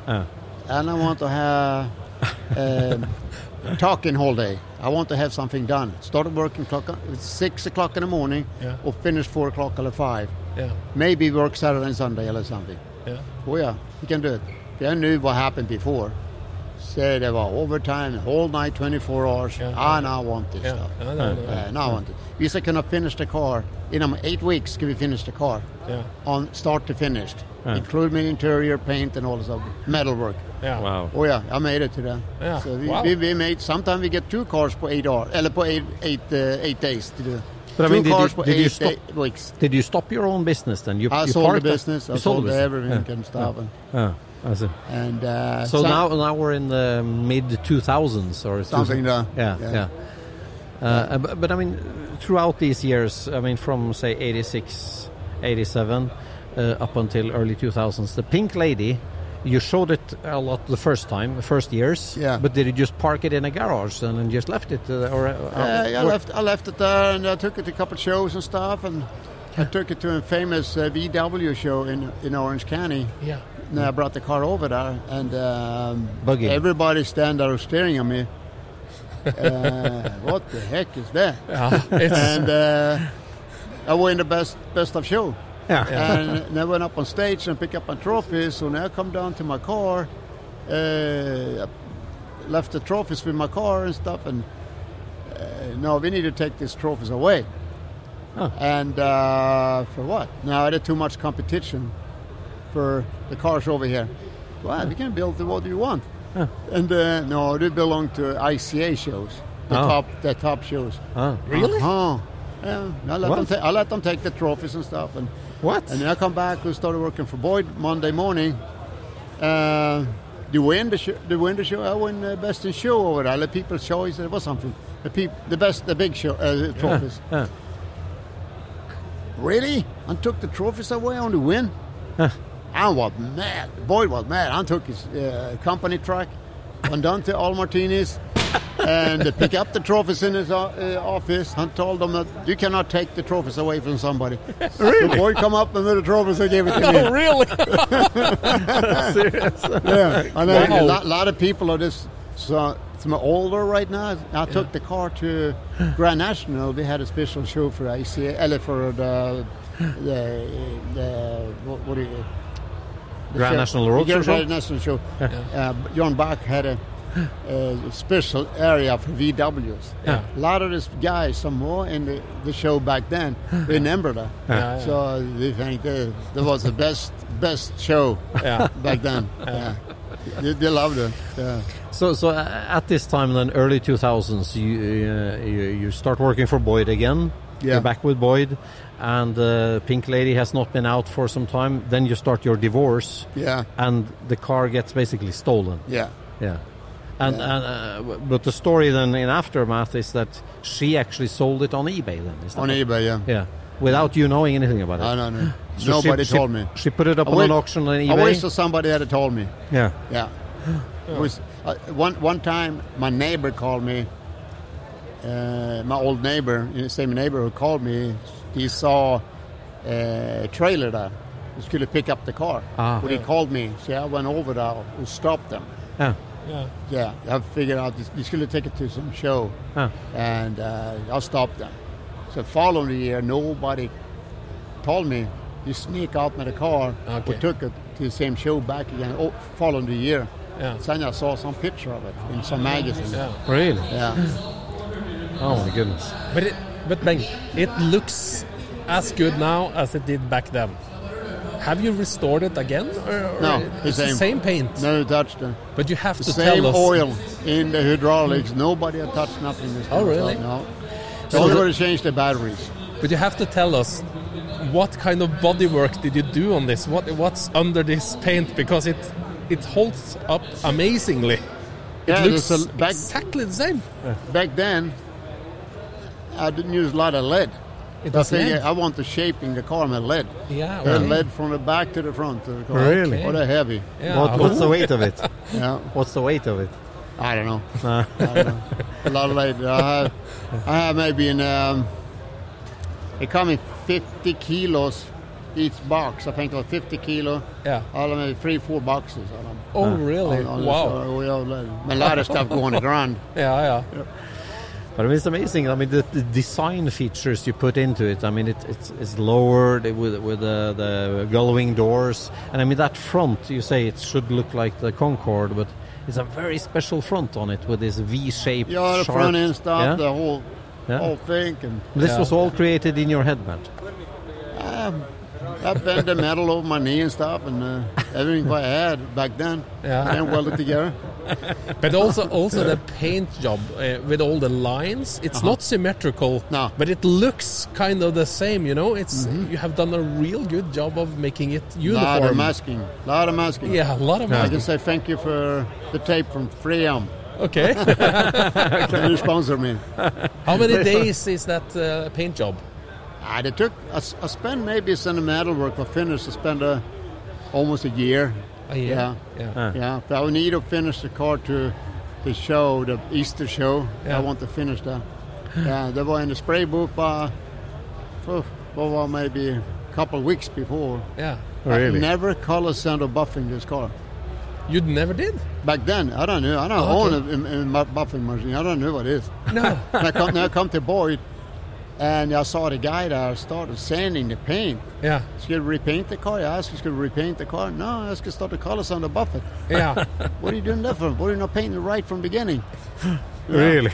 And I want to have um, talking all day. I want to have something done. Started working clock it's six o'clock in the morning, Yeah. or finish four o'clock or five. Yeah. Maybe work Saturday and Sunday or something. Yeah. Oh yeah, you can do it. I knew what happened before. Said there were overtime all night, 24 hours. I now want this Yeah. stuff. No, no, no. Uh, now I want it. We said, can I finish the car? In um, eight weeks, can we finish the car? Yeah. On start to finished, Yeah. including interior paint and all this other metal work. Yeah. Wow. Oh yeah, I made it to that. Yeah. So we, Wow. we, we made. Sometimes we get two cars per eight hours, eller på eight eight uh, eight days to do. But I two mean, did cars you, per did, you eight stop, day- weeks. did you stop your own business then? You, I you sold the parked that- business. I You sold sold the business. everything and stuff and- Yeah. I see. And uh, so some- now, now we're in the mid 2000s or Something there. Yeah, Yeah. yeah. Uh, uh, but, but I mean, throughout these years, I mean, from say 86, 87, uh, up until early 2000s, the Pink Lady, you showed it a lot the first time, the first years. Yeah. But did you just park it in a garage and then just left it? Uh, or, uh, Uh, yeah, I or- left. I left it there, and I took it to a couple of shows and stuff, and I took it to a famous uh, VW show in in Orange County. Yeah. And I brought the car over there, and um, Buggy. everybody stand there staring at me. Uh, what the heck is that? Yeah, it's- and uh, I won the best best of show. Yeah. Yeah. And, and I went up on stage and picked up my trophies. So now I come down to my car, uh, I left the trophies with my car and stuff, and uh, no, we need to take these trophies away. And uh, for what? No, there's too much competition for the cars over here. Well, you can build what you want. And uh, no, they belong to ICA shows, the Oh. top the top shows. Oh. Really? Uh-huh. Yeah, I let, them What? ta- I let them take the trophies and stuff. And What? And then I come back and started working for Boyd Monday morning. Uh, the win the, show, the win the show. I win uh, best in show over there. The people's choice. It was something. The peop- the best, the big show uh, trophies. Yeah. Really? And took the trophies away on the win? I was mad. Boyd was mad. I took his uh, company truck, went down to Al Martinez, and they pick up the trophies in his o- uh, office and told them that you cannot take the trophies away from somebody. really? The boy come up and with the trophies and gave it to me. Oh, really? Serious? Yeah, I know. Wow. A lot, lot of people are just so. It's my older right now. I took the car to Grand National. We had a special show for ICL for the the, the what, what do you? the Grand show- National Roadshow Grand show? National show. Uh, John Bach had a, a special area for VWs. Yeah. A lot of these guys, some more in the, the show back then, remember that. Yeah. So they think that, that was the best best show Yeah. back then. Yeah. They, they loved it. Yeah. So, so uh, at this time, then early 2000s, you, uh, you you start working for Boyd again. Yeah. You're back with Boyd, and uh, Pink Lady has not been out for some time. Then you start your divorce. Yeah. and the car gets basically stolen. Yeah. yeah. And, and uh, w- but the story then in aftermath is that she actually sold it on eBay. Then is that On what- eBay, yeah. yeah, without you knowing anything about it. I don't know. So Nobody she, told she, me. She put it up I on an wait- auction on I eBay. wish that somebody had told me. yeah, Yeah. It was, uh, one, one time, my neighbor called me. Uh, my old neighbor, in the same neighbor, who called me. He saw a trailer there. was going to pick up the car. Ah. When he Yeah. called me, so I went over there and stopped them. Yeah. Yeah. Yeah, I figured out this- he's going to take it to some show, Huh. and uh, I stopped them. So following year, nobody told me. You sneak out with the car. We Okay. took it to the same show back again. Oh, following the year. Yeah. Then I saw some picture of it in some magazine. Yeah. Really? Yeah. Oh my goodness. But it, but Beng, it looks as good now as it did back then. Have you restored it again? Or, or No, it's the same. the same paint. No touch them. But you have the to same tell us. oil in the hydraulics. Nobody had touched nothing this Oh, time, really? So, no. So So only the- going to change the batteries. But you have to tell us what kind of bodywork did you do on this? What what's under this paint because it it holds up amazingly. It Yeah, looks there's a- back- exactly the same. Back then, I didn't use a lot of lead. It I was think lead. I want the shaping the car with lead. Yeah, The okay. lead from the back to the front of the car. Really? What a heavy. What, what's the weight of it? Yeah. What's the weight of it? Uh. I don't know. I don't know. A lot of lead. I have, I have maybe in um, it come in 50 kilos each box. I think it was 50 kilo. Yeah. I have maybe three, four boxes on them. Oh, really? On- on the Wow. show. We all lead. A lot of stuff going around. Yeah, yeah. But I mean, it's amazing. I mean, the, the design features you put into it. I mean, it, it's, it's lowered with with the, the gullwing doors, and I mean that front. You say it should look like the Concorde, but it's a very special front on it with this V-shaped. Yeah, the sharp- front end stuff, Yeah? the whole, Yeah. whole thing. And This Yeah. was all created in your headband. Um, I bent the metal over my knee and stuff, and uh, everything I had back then, Yeah. and welded together. But also, also the paint job uh, with all the lines. It's Uh-huh. not symmetrical, no. but it looks kind of the same. You know, it's Mm-hmm. you have done a real good job of making it uniform. lot of masking. lot of masking. Yeah, a lot of I masking. can say thank you for the tape from 3M. Okay. They will sponsor me. How many days is that uh, paint job? I they took. I, s- I spent maybe a sentimental work. I finished. I spent uh almost a year. A year? Yeah. Yeah. Yeah. Huh. But I would need to finish the car to the show, the Easter show. Yeah. I want to finish that. Yeah. They were in the spray booth by, oh, well, maybe a couple of weeks before. Yeah. I never color center buffing this car. You never did? Back then, I don't know. I don't Oh, okay. own a in, in my buffing machine. I don't know what it is. No. and I come, now I come to Boyd, and I saw the guy that started sanding the paint. Yeah. He's going to repaint the car. I asked, he's going to repaint the car. No, I was going to start the colors on the buffet. Yeah. what are you doing that for? Why are you not painting it right from beginning? Really?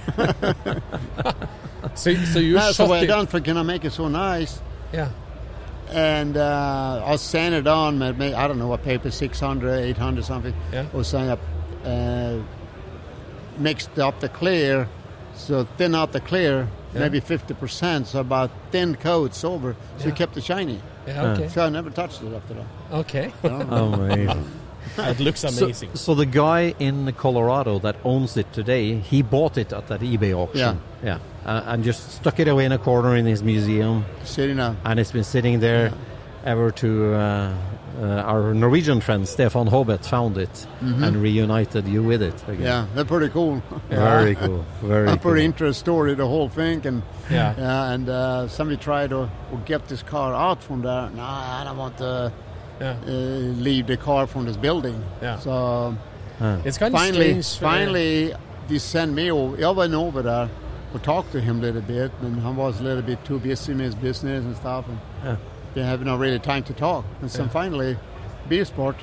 So, so you That's shot the way I it. done for can I make it so nice? Yeah. And uh, I'll sand it on, ma- ma- I don't know what paper, 600, 800 something. Yeah. Or sand up, uh, mixed up the clear, so thin out the clear, Yeah. maybe 50%, so about thin coats over, so you kept it shiny. Yeah, okay. Oh. So I never touched it after that. Okay. Amazing. it looks So- amazing. So, the guy in Colorado that owns it today, he bought it at that eBay auction. Yeah. Uh, and just stuck it away in a corner in his museum. Sitting up. And it's been sitting there ever to uh, uh, our Norwegian friend Stefan Hobet found it Mhm. and reunited you with it again. Yeah, they're pretty cool. Very cool. Very I'm pretty cool. into the story, the whole thing, and Yeah. yeah, and uh, somebody tried to to get this car out from there. No, I don't want to Yeah. uh, leave the car from this building. Yeah. So Huh. It's kind of finally, strange, eh? uh, finally, they sent me over. I went over there to talk to him a little bit, and I was a little bit too busy with his business and stuff, and Yeah. they have no really time to talk. And so Yeah. finally, B-Sport,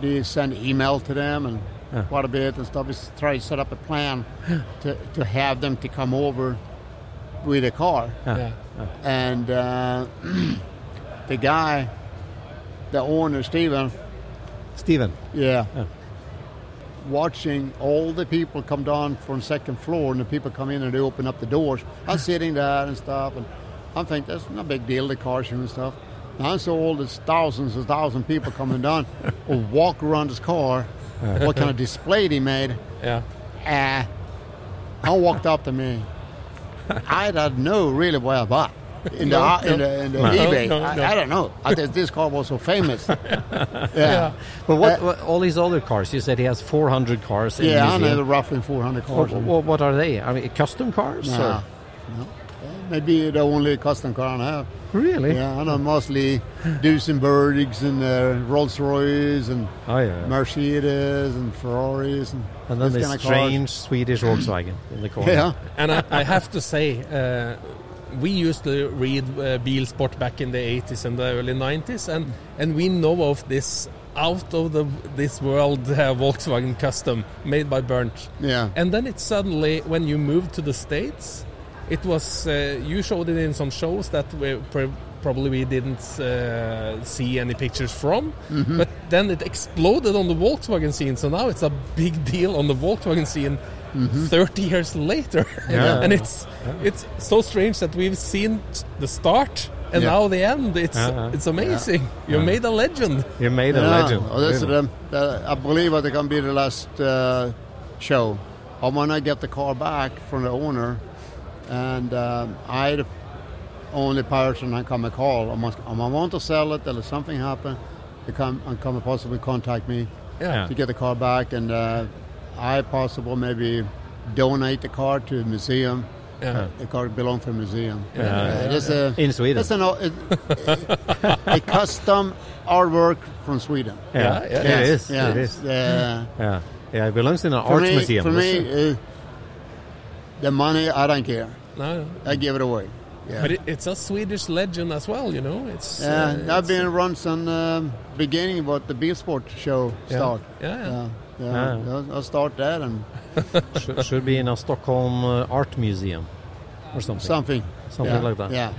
they send email to them and Yeah. quite a bit and stuff. Is try to set up a plan to, to have them to come over with a car. Yeah. Yeah. And uh, the guy, the owner, Steven, Steven. yeah. Yeah. Watching all the people come down from second floor, and the people come in and they open up the doors. I'm sitting there and stuff, and I'm thinking that's not a big deal, the car show and stuff. And I saw all these thousands and thousands of people coming down, or walk around this car. Yeah. What kind of display they made? Yeah. Ah, I walked up to me. I don't know really what I bought in the, No, no. in the, in the No, eBay. no, no. I, I don't know. I think this car was so famous. Yeah. Yeah. Uh, But what, what all his other cars? You said he has 400 cars. In Yeah, the I museum. know roughly 400 Wha- cars. wha- what are they? I mean, custom cars? Nah. or- No. Maybe the only custom car I have. Really? Yeah, I know mostly Duesenbergs and uh, Rolls Royces and Oh, yeah, yeah. Mercedes and Ferraris and, And then this this kind of cars. strange Swedish Volkswagen in the corner. Yeah. And I, I have to say, uh, we used to read uh, Bilsport back in the 80s and the early 90s, and, and we know of this out of the this world uh, Volkswagen Custom made by Berndt. Yeah. And then it suddenly, when you moved to the States, it was uh, you showed it in some shows that we pr- probably we didn't uh, see any pictures from, Mhm. but then it exploded on the Volkswagen scene. So now it's a big deal on the Volkswagen scene. Mm-hmm. 30 years later Yeah. and it's it's so strange that we've seen the start and Yeah. now the end it's Yeah, yeah. it's amazing Uh-huh. Yeah. you Yeah. made a legend You made a Yeah. legend. Oh, that's really. them. That- I believe that it can be the last uh, show. I want to get the car back from the owner, and um, I the only person I can call. I must, I want to sell it, or something happen, they come and come possibly contact me Yeah. to get the car back, and uh, I possible maybe donate the car to a museum. Yeah. The car belongs to a museum. Yeah. Uh, that's a- In Sweden. that's an o- it- a custom artwork from Sweden. Yeah, Yes, it is. yes. It is. Uh, yeah. Yeah, it belongs in an for art me, museum. For me, uh, the money I don't care. No, no. I give it away. Yeah. but it, it's a swedish legend as well you know it's Yeah, uh, I've it's- been around since um, beginning about the Beersport show Yeah. start. Yeah, Ah. yeah. yeah. Yeah. I'll- I'll start that and should, should be in a Stockholm uh, art museum or something. Something. Something Yeah. like that. Yeah.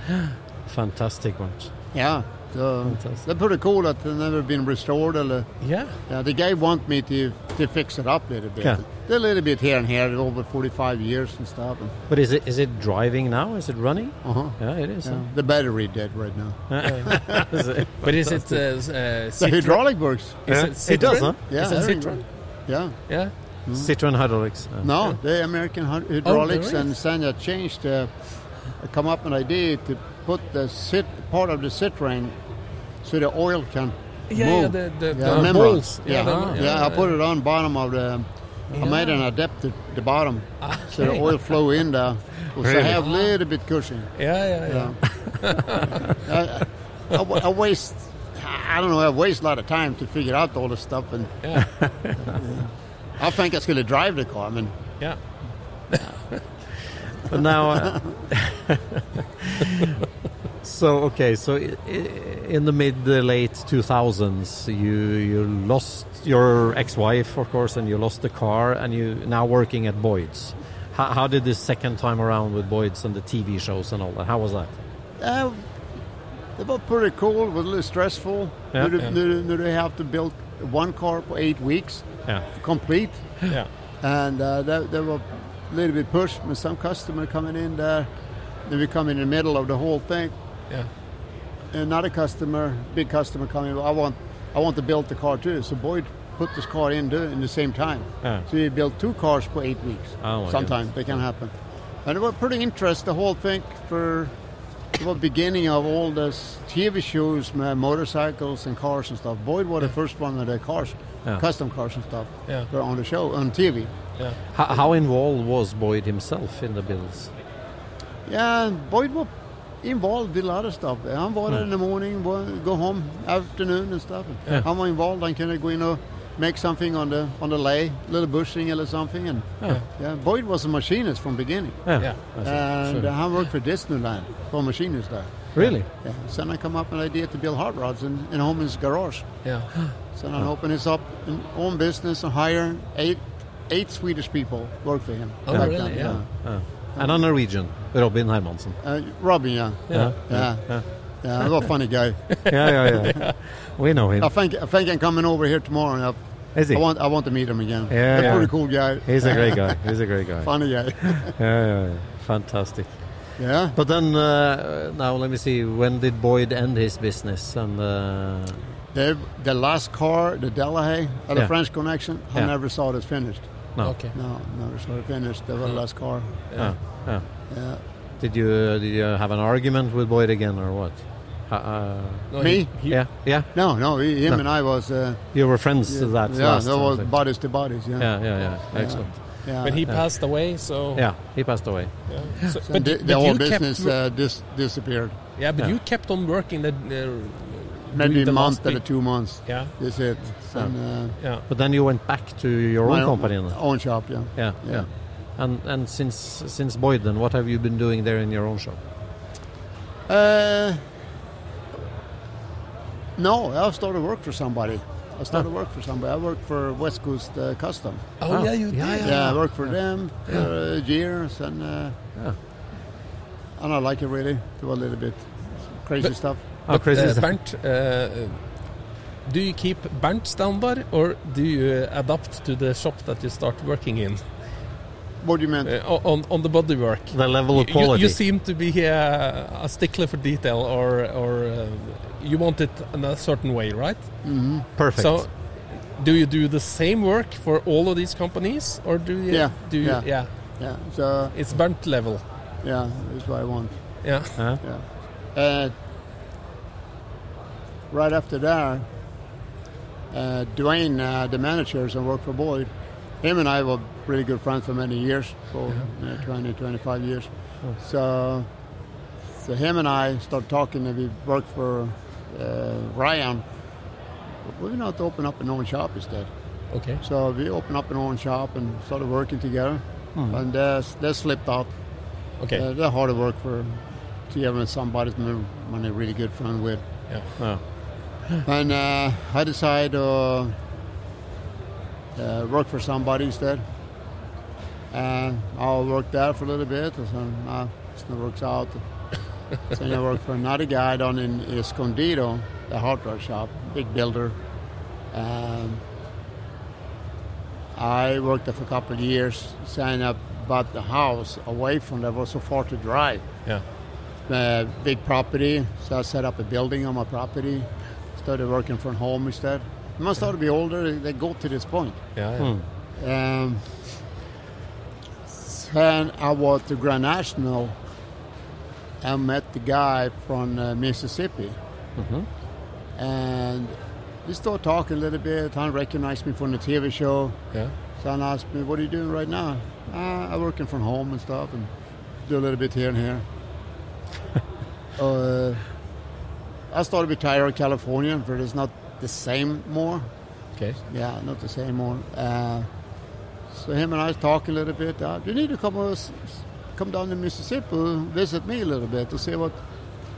Fantastic ones. yeah. So Fantastic. they're pretty cool that they've never been restored. Or, yeah. yeah. The guy want me to, to fix it up a little bit. Yeah. A little bit here and here over 45 years and stuff. And, But is it is it driving now? Is it running? Uh-huh. Yeah, it is. Yeah. The battery dead right now. Uh, but is it uh, s- uh, the Citroen? hydraulic works. Is it It does, Citroen? huh? Yeah, is it everything Citroen? works. Yeah. yeah Citroen hydraulics. Yeah. No, the American Oh, hy- hydraulics and Sanya changed, uh, come up with an idea to put the sit, part of the Citroen so the oil can Yeah, yeah, move. the- the- the membrane. balls. Yeah, Yeah, the- yeah, yeah, I put yeah. it on bottom of the. I made an adept at the bottom, so the Okay. oil flow in there. So Ah, I Really? Ah. have a little bit cushion. yeah yeah yeah I, I, I wa- I waste. I don't know. I waste a lot of time to figure out all this stuff, and I think I going to drive the car. I mean, yeah But now, uh, so okay, so i- i- in the mid uh, late two thousands, you you lost your ex wife, of course, and you lost the car, and you now working at Boyd's. How, how did this second time around with Boyd's and the TV shows and all that? How was that? Uh, they were pretty cool. It was a little stressful. Yeah. Now, they- Yeah. now- now they have to build one car for eight weeks, Yeah. complete, yeah and uh, they, they were a little bit pushed with some customer coming in there. They were coming in the middle of the whole thing. yeah Another uh, customer, big customer coming. I want, I want to build the car too. So Boyd put this car in the, in the same time. Yeah. So you built two cars for eight weeks. Ah. Oh, my Sometimes they can happen, and it was pretty interesting. The whole thing for the beginning of all this TV shows, my motorcycles and cars and stuff. Boyd was the first one of the cars, Yeah. custom cars and stuff, Yeah. were on the show on TV. yeah How, how involved was Boyd himself in the bills? Yeah, and Boyd was involved with a lot of stuff. Han var där in the morning, var- go home afternoon and stuff. Yeah. Han var involved. Han kunde gå in och make something on the on the lay, little bushing eller something. And Yeah. yeah, Boyd was a machinist from beginning. yeah And uh, han worked for Disneyland, for machinist there. Really? Yeah. Sen han kom upp med en idé to build hot rods in, in Holman's garage. yeah Sen han opened his up in own business and hire eight eight Swedish people work for him. Oh, back really? then, Yeah. Yeah. And a Norwegian, Robin Hermansen. Uh, Robin, yeah. Yeah. Yeah. Yeah, he was a funny guy. Yeah, yeah, yeah. We know him. I think I think I'm coming over here tomorrow. And I, Is he? I want I want to meet him again. Yeah, He's a yeah. pretty cool guy. He's a great guy. He's a great guy. funny guy. Yeah, yeah, yeah. Fantastic. yeah. But then, uh, now let me see. When did Boyd end his business? And uh, The, the last car, the Delahaye, uh, the Yeah. French connection, I Yeah. never saw it finished. no, okay No, never saw it finished. That was the last car. Yeah, yeah. Yeah. Did you uh, did you have an argument with Boyd again or what? Uh, Uh, No, Me? he- he- yeah, yeah. No, no, he, him No. and I was. Uh, You were friends yeah, that yeah, last that time, was so- bodies to bodies. Yeah. Yeah, yeah, yeah. Excellent. Yeah. but he Yeah. passed away, so Yeah, he passed away. Yeah. So- So but the, you- the but whole you kept business wo- uh, dis- disappeared. yeah, but Yeah. you kept on working uh, the, the Maybe doing a the month last or bit. two months. Yeah. That's it. And, uh, Yeah. But then you went back to your My own own- company. then? own shop, yeah. Yeah, Yeah. yeah. And and since since Boyd, then what have you been doing there in your own shop? Uh, no, I started work for somebody. I started work for somebody. I worked for West Coast uh, Custom. Oh, Ah. yeah, you Yeah, did. I worked for them Yeah. for uh, years, and uh, and I like it really. Do a little bit crazy But- stuff. but, uh, Bernt, uh, do you keep Bernt standard or do you uh, adapt to the shop that you start working in? Uh, What do you mean? on, on the bodywork. The level of You- you- You, quality. seem to be uh, a stickler for detail or, or uh, you want it in a certain way, right? Mm-hmm. Mhm. Perfect. So do you do the same work for all of these companies or do you? Yeah, Do you, yeah, yeah. yeah. So it's Bernt level. Yeah, that's what I want. Yeah. Uh, Yeah. Uh, right after that, uh, Dwayne, uh, the managers, and worked for Boyd. Him and I were really good friends for many years, for uh, 20, 25 years. So, so him and I started talking, and we worked for uh, Ryan. We were not open up an own shop instead. Okay. So we opened up an own shop and started working together, Hmm. and uh, that slipped out. Okay. Uh, they're hard to work for together with somebody that I'm a really good friend with. Yeah. And uh, I decided to uh, uh, work for somebody instead. And I'll work there for a little bit. And uh, so, no, this not works out. so then I worked for another guy down in Escondido, the hardware shop, big builder. Um, I worked there for a couple of years, saying up bought the house away from there was so far to drive. Yeah. Uh, big property, so I set up a building on my property. Started working from home instead. When I started to be older, they- they go to this point. Yeah, yeah. Hmm. Um, and I was to Grand National and met the guy from uh, Mississippi. And we started talking a little bit. Han recognized me from the TV show. Yeah. So Han asked me, what are you doing right now? Uh, I'm working from home and stuff and do a little bit here and here. uh, I started to be tired of California, but it's not the same more. Okay. Yeah, not the same more. Uh, so him and I talk a little bit. Uh, you need to come over, s- s- come down to Mississippi, visit me a little bit to see what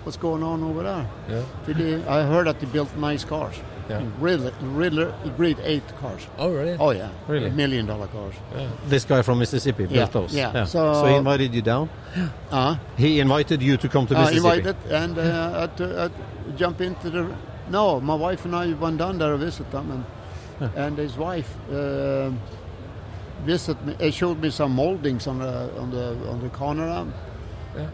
what's going on over there. Yeah. We did- I heard that they built nice cars. Yeah. Really, really great eight cars. Oh, really? Oh, yeah. Really? Million dollar cars. This guy from Mississippi Yeah, built those. yeah. So, So- he invited you down. Uh-huh. He invited you to come to I Mississippi. invited and uh, I, t- I jump into the. No, my wife and I went down there to visit them, and and his wife uh, visit me. Uh, showed me some moldings on the on the on the corner. Yeah.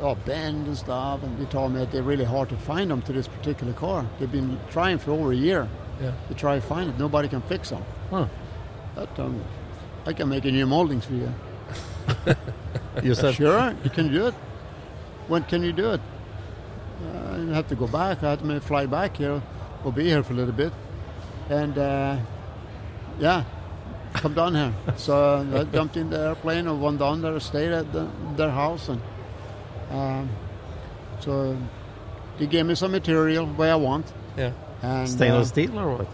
Oh, bend and stuff, and they told me that they're really hard to find them to this particular car. They've been trying for over a year Yeah. to try to find it. Nobody can fix them. Huh. That um, I can make a new moldings for you. You said- sure you can do it. When can you do it? Uh, I have to go back. I have to may fly back here. We'll be here for a little bit, and uh, yeah, come down here. So I jumped in the airplane and went down there, stayed at the, their house, and um, so they gave me some material where I want. Yeah. And, Stainless uh, steel or what?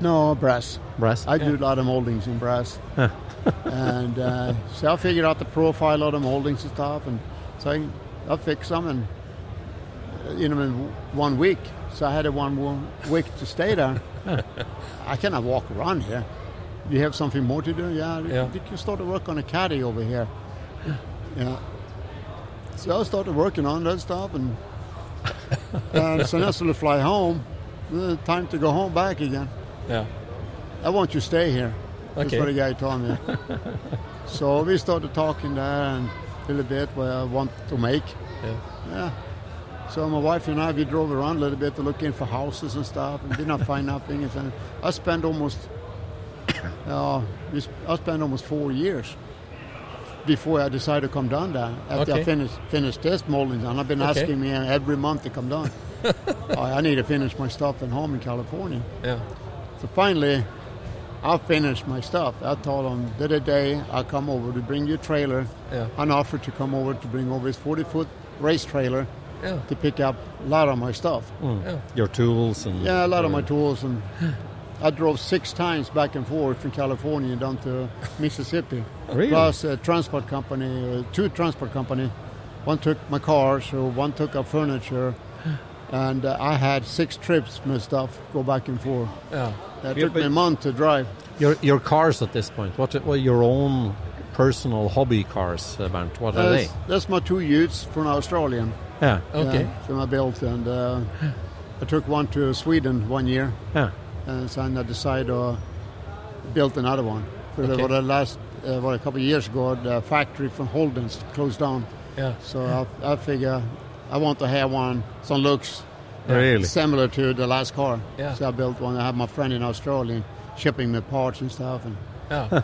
no, brass. Brass? I do a lot of moldings in brass. and uh, so I figured out the profile of the moldings and stuff. And so I, I fixed them and uh, in them in one week. So I had a one, one week to stay there. I cannot walk around here. You have something more to do? Yeah, you- Yeah. you can start to work on a caddy over here. Yeah. So I started working on that stuff and and so now to fly home. Uh, Time to go home back again. Yeah. I want you to stay here. That's Okay. what the guy told me. so we started talking there and a little bit what I want to make. Yeah. Yeah. So my wife and I we drove around a little bit to look in for houses and stuff and did not find nothing. And so I spent almost uh, we sp- I spent almost four years before I decided to come down there. After Okay. I finished finished this molding, and I've been Okay. asking me every month to come down. I, I need to finish my stuff at home in California. Yeah. So finally, I'll finish my stuff. I told him the other day I come over to bring your trailer. Yeah. And offered to come over to bring over his 40 foot race trailer Yeah. to pick up a lot of my stuff. Mm. Yeah. Your tools and Hmm. Yeah, a lot of Mm. my tools and I drove six times back and forth from California down to Mississippi. Really? Plus a transport company, uh, two transport company. One took my car, so one took our furniture, and uh, I had six trips, my stuff, go back and forth. Yeah. That Yeah, took me but- a month to drive. Your your cars at this point. What what your own personal hobby cars, uh, Bernd? What are That's, they? that's my two utes from Australian. Yeah. Okay. so I built, and uh, I took one to Sweden one year. Yeah. And so I decided to build another one. For Okay. the, for the last, uh, well, a couple of years ago, the factory from Holden's closed down. Yeah. So I, I figure I want to have one some looks Really? similar to the last car. Yeah. So I built one. I have my friend in Australia shipping me parts and stuff. And Yeah.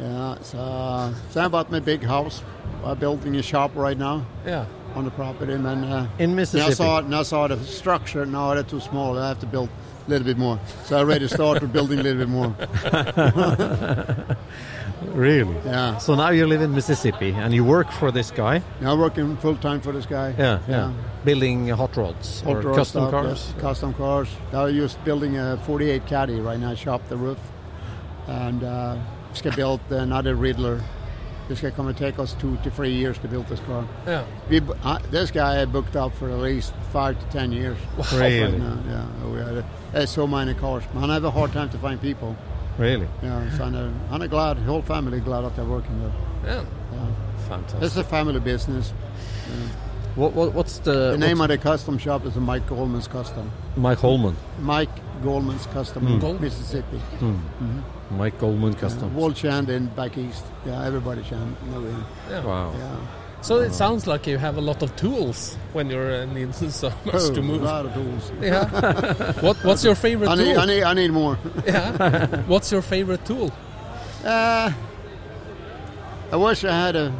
yeah, so, so I bought my big house. I'm building a shop right now. Yeah. On the property, and then uh, In Now I Mississippi. saw, now I saw the structure. Now they're too small. I have to build a little bit more. So I already started building a little bit more. Really? Yeah. So now you live in Mississippi and you work for this guy. now I'm working full time for this guy. Yeah, yeah. Building hot rods Hot or rod custom stuff, cars. yeah, custom cars. Now I'm just building a 48 Caddy right now. Shop the roof, and uh, just gonna build another Riddler. This guy gonna take us two to three years to build this car. Yeah. We, bu- uh, this guy I booked up for at least five to ten years. Wow. Really? Right now, yeah. Oh, We had, there's so many cars. Man, I have a hard time to find people. Really? Yeah, so I'm, uh, I'm glad, whole family glad that they're working there. Yeah. Fantastic. It's a family business. Yeah. What, what, what's the, The name what's of the custom shop is Mike Goldman's Custom. Mike Holman? Mike Goldman's Custom Mm. in Gold- Mississippi. Hmm. Mike Goldman Custom. Wall Chand in back east. Yeah, everybody Chand know him. Yeah. Wow. Yeah. So it sounds like you have a lot of tools when you're uh, need so much Oh, to move. A lot of tools. Yeah. what What's your favorite I need, tool? I need, I need more. yeah. What's your favorite tool? Uh, I wish I had a.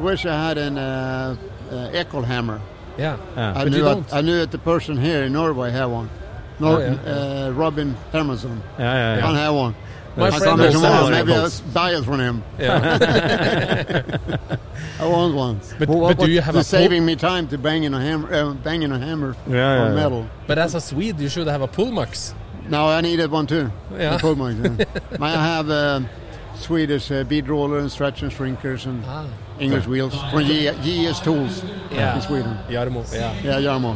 Wish I had an uh, uh, echo hammer. Yeah. Yeah. I But knew you that, don't. I knew that the person here in Norway had one. Oh, Nor- yeah, uh, Robin Hermansson. Yeah, Uh, yeah, yeah. Don't have one. My I friend come here also tomorrow, has Maybe one. I'll s- buy it from him. Yeah. I want one. But, Well, what- but do you have a It's pull- saving me time to banging a hammer, uh, banging a hammer Yeah, on yeah, yeah. metal. But as a Swede, you should have a Pullmax. No, I needed one too. Yeah. The pull mic, yeah. I have um, Swedish uh, bead roller and stretch and shrinkers and Ah. English wheels from J- JS Tools Yeah. in Sweden. Jarmo. Yeah. Yeah, Jarmo.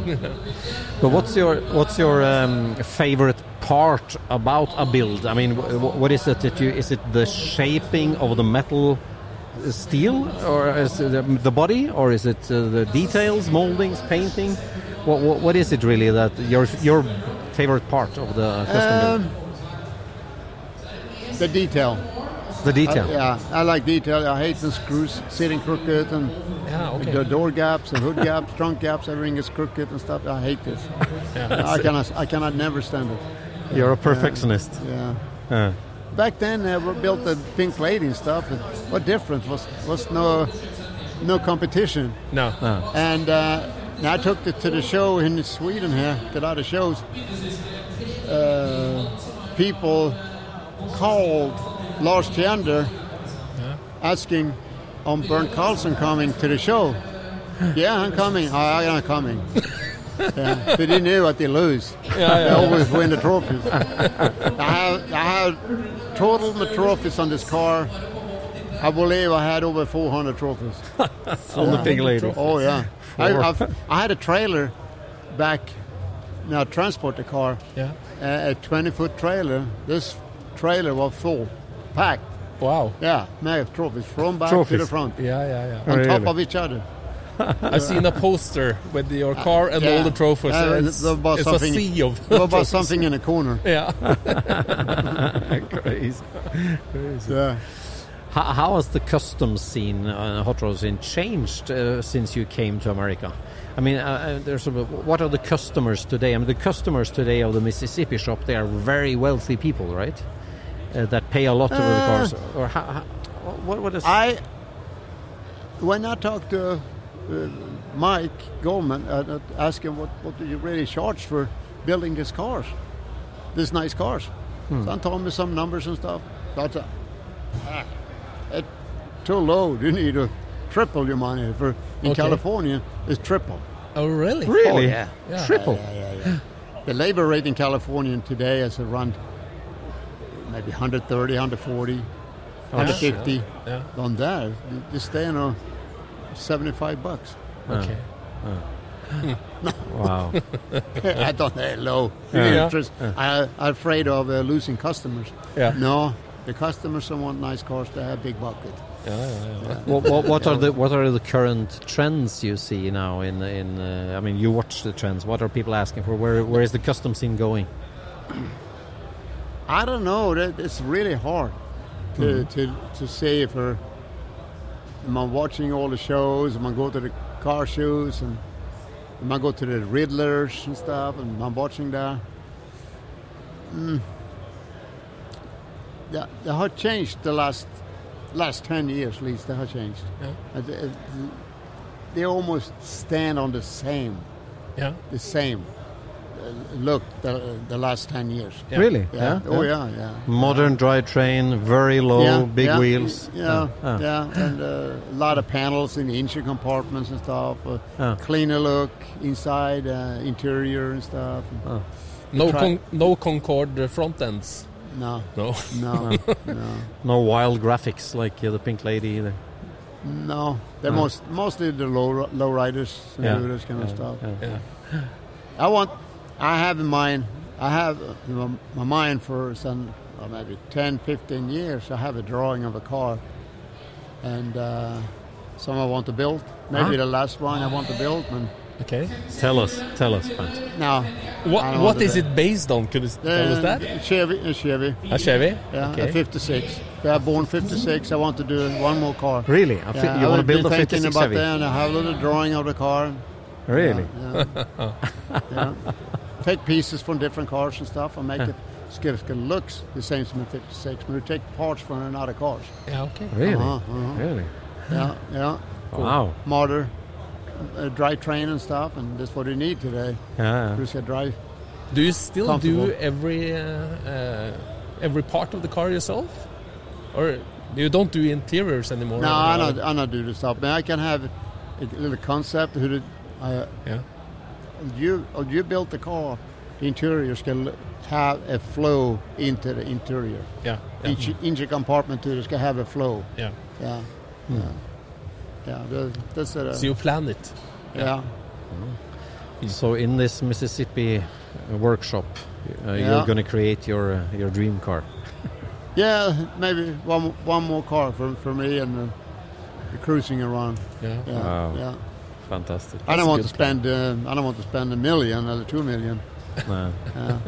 But what's your what's your um, favorite part about a build? I mean, wh- what is it that you is it the shaping of the metal uh, steel or is it the- the body or is it uh, the details, moldings, painting? What, what what is it really that your your favorite part of the custom build? Um, the detail. The detail. I, uh, yeah, I like detail. I hate the screws sitting crooked and Yeah. Okay. the door gaps and hood gaps, trunk gaps. Everything is crooked and stuff. I hate this. I cannot. I cannot never stand it. You're a perfectionist. Yeah. Yeah. Back then, uh, we built the Pink Lady and stuff. But what difference was was no no competition. No. And uh, and I took it to the show in Sweden here, did other shows. Uh, people called Lars Tjander asking on Bernd Carlson coming to the show. Yeah, I'm coming. Oh, I'm coming. yeah. But they knew what they lose. they always win the trophies. I have, I have total my trophies on this car. I believe I had over 400 trophies. On the big lady. Oh yeah, I, Four. I've, I had a trailer back. Now transport the car. Yeah. Uh, a twenty-foot trailer. This trailer was full, packed. Wow. Yeah, mega trophies from back to Trophies. the front, Yeah. Yeah. Yeah. on top Really? of each other. Uh, I've seen a poster with your car and Yeah. all the trophies. Yeah, and there was it's a something- sea of. There was trophies. something in the corner. Yeah. Crazy. Crazy. Yeah. How, how has the custom scene, uh, hot rod scene, changed uh, since you came to America? I mean, uh, uh, there's a, what are the customers today? I mean, the customers today of the Mississippi shop, they are very wealthy people, right? Uh, that pay a lot over the cars. Or how, how, what, what is... I when I talked to uh, Mike Goldman, uh, I I asked him what what do you really charge for building these cars, these nice cars, So I'm telling me some numbers and stuff. That's a, ah, it's too low. You need to triple your money. For in Okay. California, it's triple. Oh, really? Oh, yeah. Yeah. Yeah, yeah, yeah, yeah. the labor rate in California today is around maybe 130, 140, Oh, 150. shit. Yeah. On that, you- you stay on uh, 75 bucks. Okay. Wow. I thought they low Yeah. interest. Yeah. I, I'm afraid of uh, losing customers. Yeah. No, the customers don't want nice cars. They have big bucket. what, what, what are the what are the current trends you see now in in uh, I mean you watch the trends what are people asking for where where is the custom scene going I don't know. That It's really hard to to, to say if uh, am I watching all the shows? Am I go to the car shows and am I go to the Riddlers and stuff? And am I watching that? Mm. Yeah, they have changed the last last ten years. At least they have changed. And they- They almost stand on the same. Yeah. The same. uh, Look, the, the last ten years. really Yeah. Oh yeah, yeah. modern drivetrain very low Yeah, Oh, big yeah, wheels Yeah, Ah. yeah, and uh, a lot of panels in the engine compartments and stuff. Uh, Ah. Cleaner look inside, uh, interior and stuff. Ah. No, Try- con- no Concorde uh, front ends. No. No. No. no. no wild graphics like uh, the Pink Lady either No, they're Ah. most mostly the low low riders and Yeah, do this kind yeah, of stuff. yeah. I want, I have in mind, I have in my- my mind for some well, maybe 10, 15 years. I have a drawing of a car, and uh, some I want to build. Maybe Huh? the last one I want to build. And okay, tell us tell us Bernt. now What, what is it based on? Could you s- tell us that? Chevy, a Chevy, A Chevy? Uh, yeah, Okay. a 56. They are born 56. I want to do one more car. Really? I think you wanna I've build been a thinking 56 about Chevy? that, and I have a little drawing of the car. Really? Yeah, yeah. Yeah. Take pieces from different cars and stuff and make Huh. it Skirska looks the same as my 56, but we take parts from another cars. Yeah, okay. Really? Uh-huh, uh-huh. Really? Yeah, yeah. Cool. Wow. Motor, uh, dry train and stuff, and that's what you need today. Yeah. Skirska drive. Do you still do Comfortable. every uh, uh, every part of the car yourself, or you don't do interiors anymore? No, I not, I not do this stuff. Man, I can have a little concept. Who did uh, I? Yeah. You oh, you built the car. The interiors can l- have a flow into the interior. Yeah, yeah. Each engine compartment to this can have a flow. Yeah. Yeah. Hmm. Yeah. Yeah. tha- That's it. uh, So you plan it. Yeah. Hmm. so in this Mississippi uh, workshop uh, Yeah. you're going to create your uh, your dream car Yeah. Maybe one one more car for for me and uh, cruising around. Yeah. Yeah. wow yeah. fantastic I That's don't want good to spend. Uh, I don't want to spend a million or two million. No. Yeah.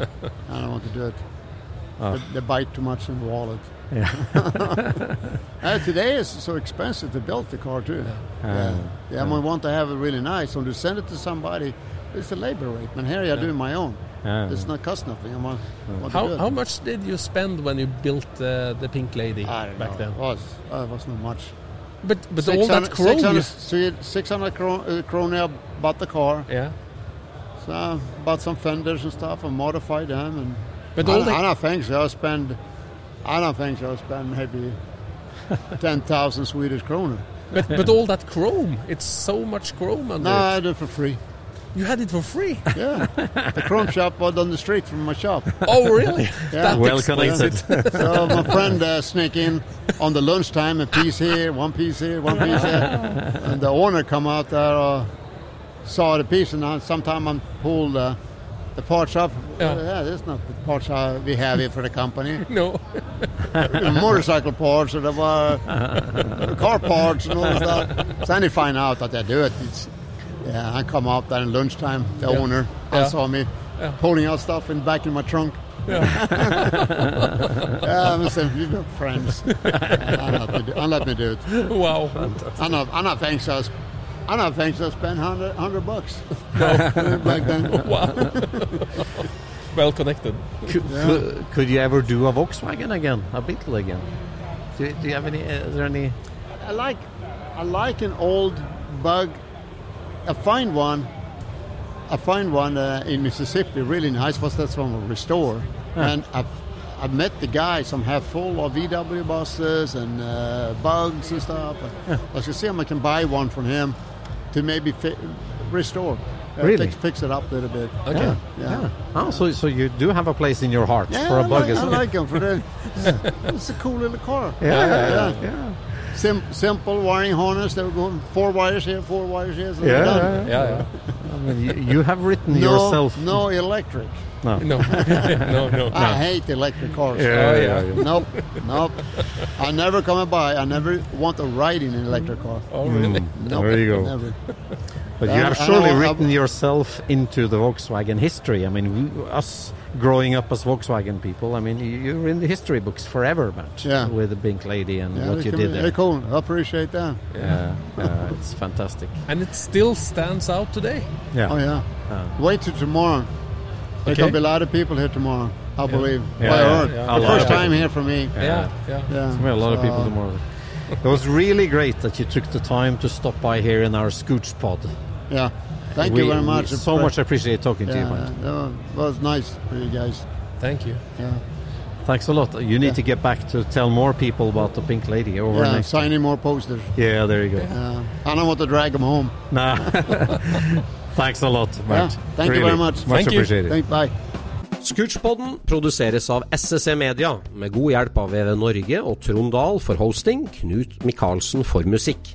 I don't want to do it. Oh. They, they bite too much in the wallet. Yeah. Uh, today is so expensive to build the car too. Uh, Yeah, Ah, yeah. I want to have it really nice. And to send it to somebody, it's a labor rate. And here I do my own. Ah. It's not cost nothing. I want, want to do How, it. how much did you spend when you built uh, the Pink Lady I don't back know. then? It was, uh, it was not much. But but all that 600 chrome, you- 600, so you- 600 kron- uh, krona I bought the car. yeah. So I bought uh, some fenders and stuff and modified them. And But I, all the- I don't think so. I spend. I don't think so. I spend maybe ten thousand Swedish kroner. But but all that chrome, it's so much chrome under No, I it. did it for free. You had it for free. Yeah, the chrome shop was on the street from my shop. Oh really? That Well explains connected. it. So my friend uh, sneak in on the lunchtime, a piece here, one piece here, one piece here, and the owner come out there, uh, saw the piece, and I, sometime I pulled uh, the parts up. Yeah. Yeah. that's not the parts uh, we have here for the company. no. motorcycle parts, and there were uh, car parts, and all that. So then they find out that they do it. It's, yeah, I come out there at lunchtime. The Yeah. owner Yeah. I saw me pulling out stuff and back in my trunk. Yeah, I'm saying we've been friends. I let me do, I let me do it. Wow. I know. I know. Thanks, I. was- I know. Thanks, I spent hundred hundred bucks back then. Wow. well connected. Could, could, could you ever do a Volkswagen again, a Beetle again? Do, do you have any? Uh, is there any? I like, I like an old bug. I find one. I find one uh, in Mississippi really nice. Was that's one we restore, and I, I've met the guys some have full of VW buses and uh, bugs and stuff. I should see if I can buy one from him to maybe fi- restore. Uh, Really? Fix, fix it up a little bit. Okay. Yeah. Yeah. yeah. Oh, so, so you do have a place in your heart Yeah, for a I bug like, as I well. like 'em for that. it's a cool little car. Yeah, yeah, yeah, Sim- simple wiring harness. They were going four wires here, four wires here. So Yeah, done. yeah, yeah. I mean, you, you have written No, yourself. No electric. No. No. No, no, no. I Ah. hate electric cars. Yeah, Oh, yeah, yeah. Nope, nope. I never come by. I never want to ride in an electric car. Oh, really? Hmm. Mm, Nope, there you go. Never. But And you have I- I surely know written yourself into the Volkswagen history. I mean, we, us growing up as Volkswagen people, I mean, you- you're in the history books forever, but Yeah. with the Bink lady and Yeah, what they you come did in. there. They're cool. I appreciate that. Yeah, uh, it's fantastic. And it still stands out today. Yeah. Uh. Oh yeah. Wait till tomorrow. There's Okay. gonna be a lot of people here tomorrow. I believe. Yeah, By yeah, heart. yeah. A The lot first of people. time here for me. Yeah, Yeah. We have a lot of people So- tomorrow. It was really great that you took the time to stop by here in our Scooch pod. Yeah. Thank We- you very we much. so much appreciate talking to you, Yeah, Martin. yeah, That was nice for you guys. Thank you. Yeah. Thanks a lot. You need to get back to tell more people about the Pink Lady Oh. over Yeah, next. signing more posters. Yeah, there you go. Yeah. I don't want to drag them home. No. Thanks a lot, Yeah, Martin. thank you very much. Much appreciated. Thank, bye. Scootspodden produseres av SSC Media, med god hjelp av VV Norge og Trond Dahl for hosting, Knut Micaelsen for musikk.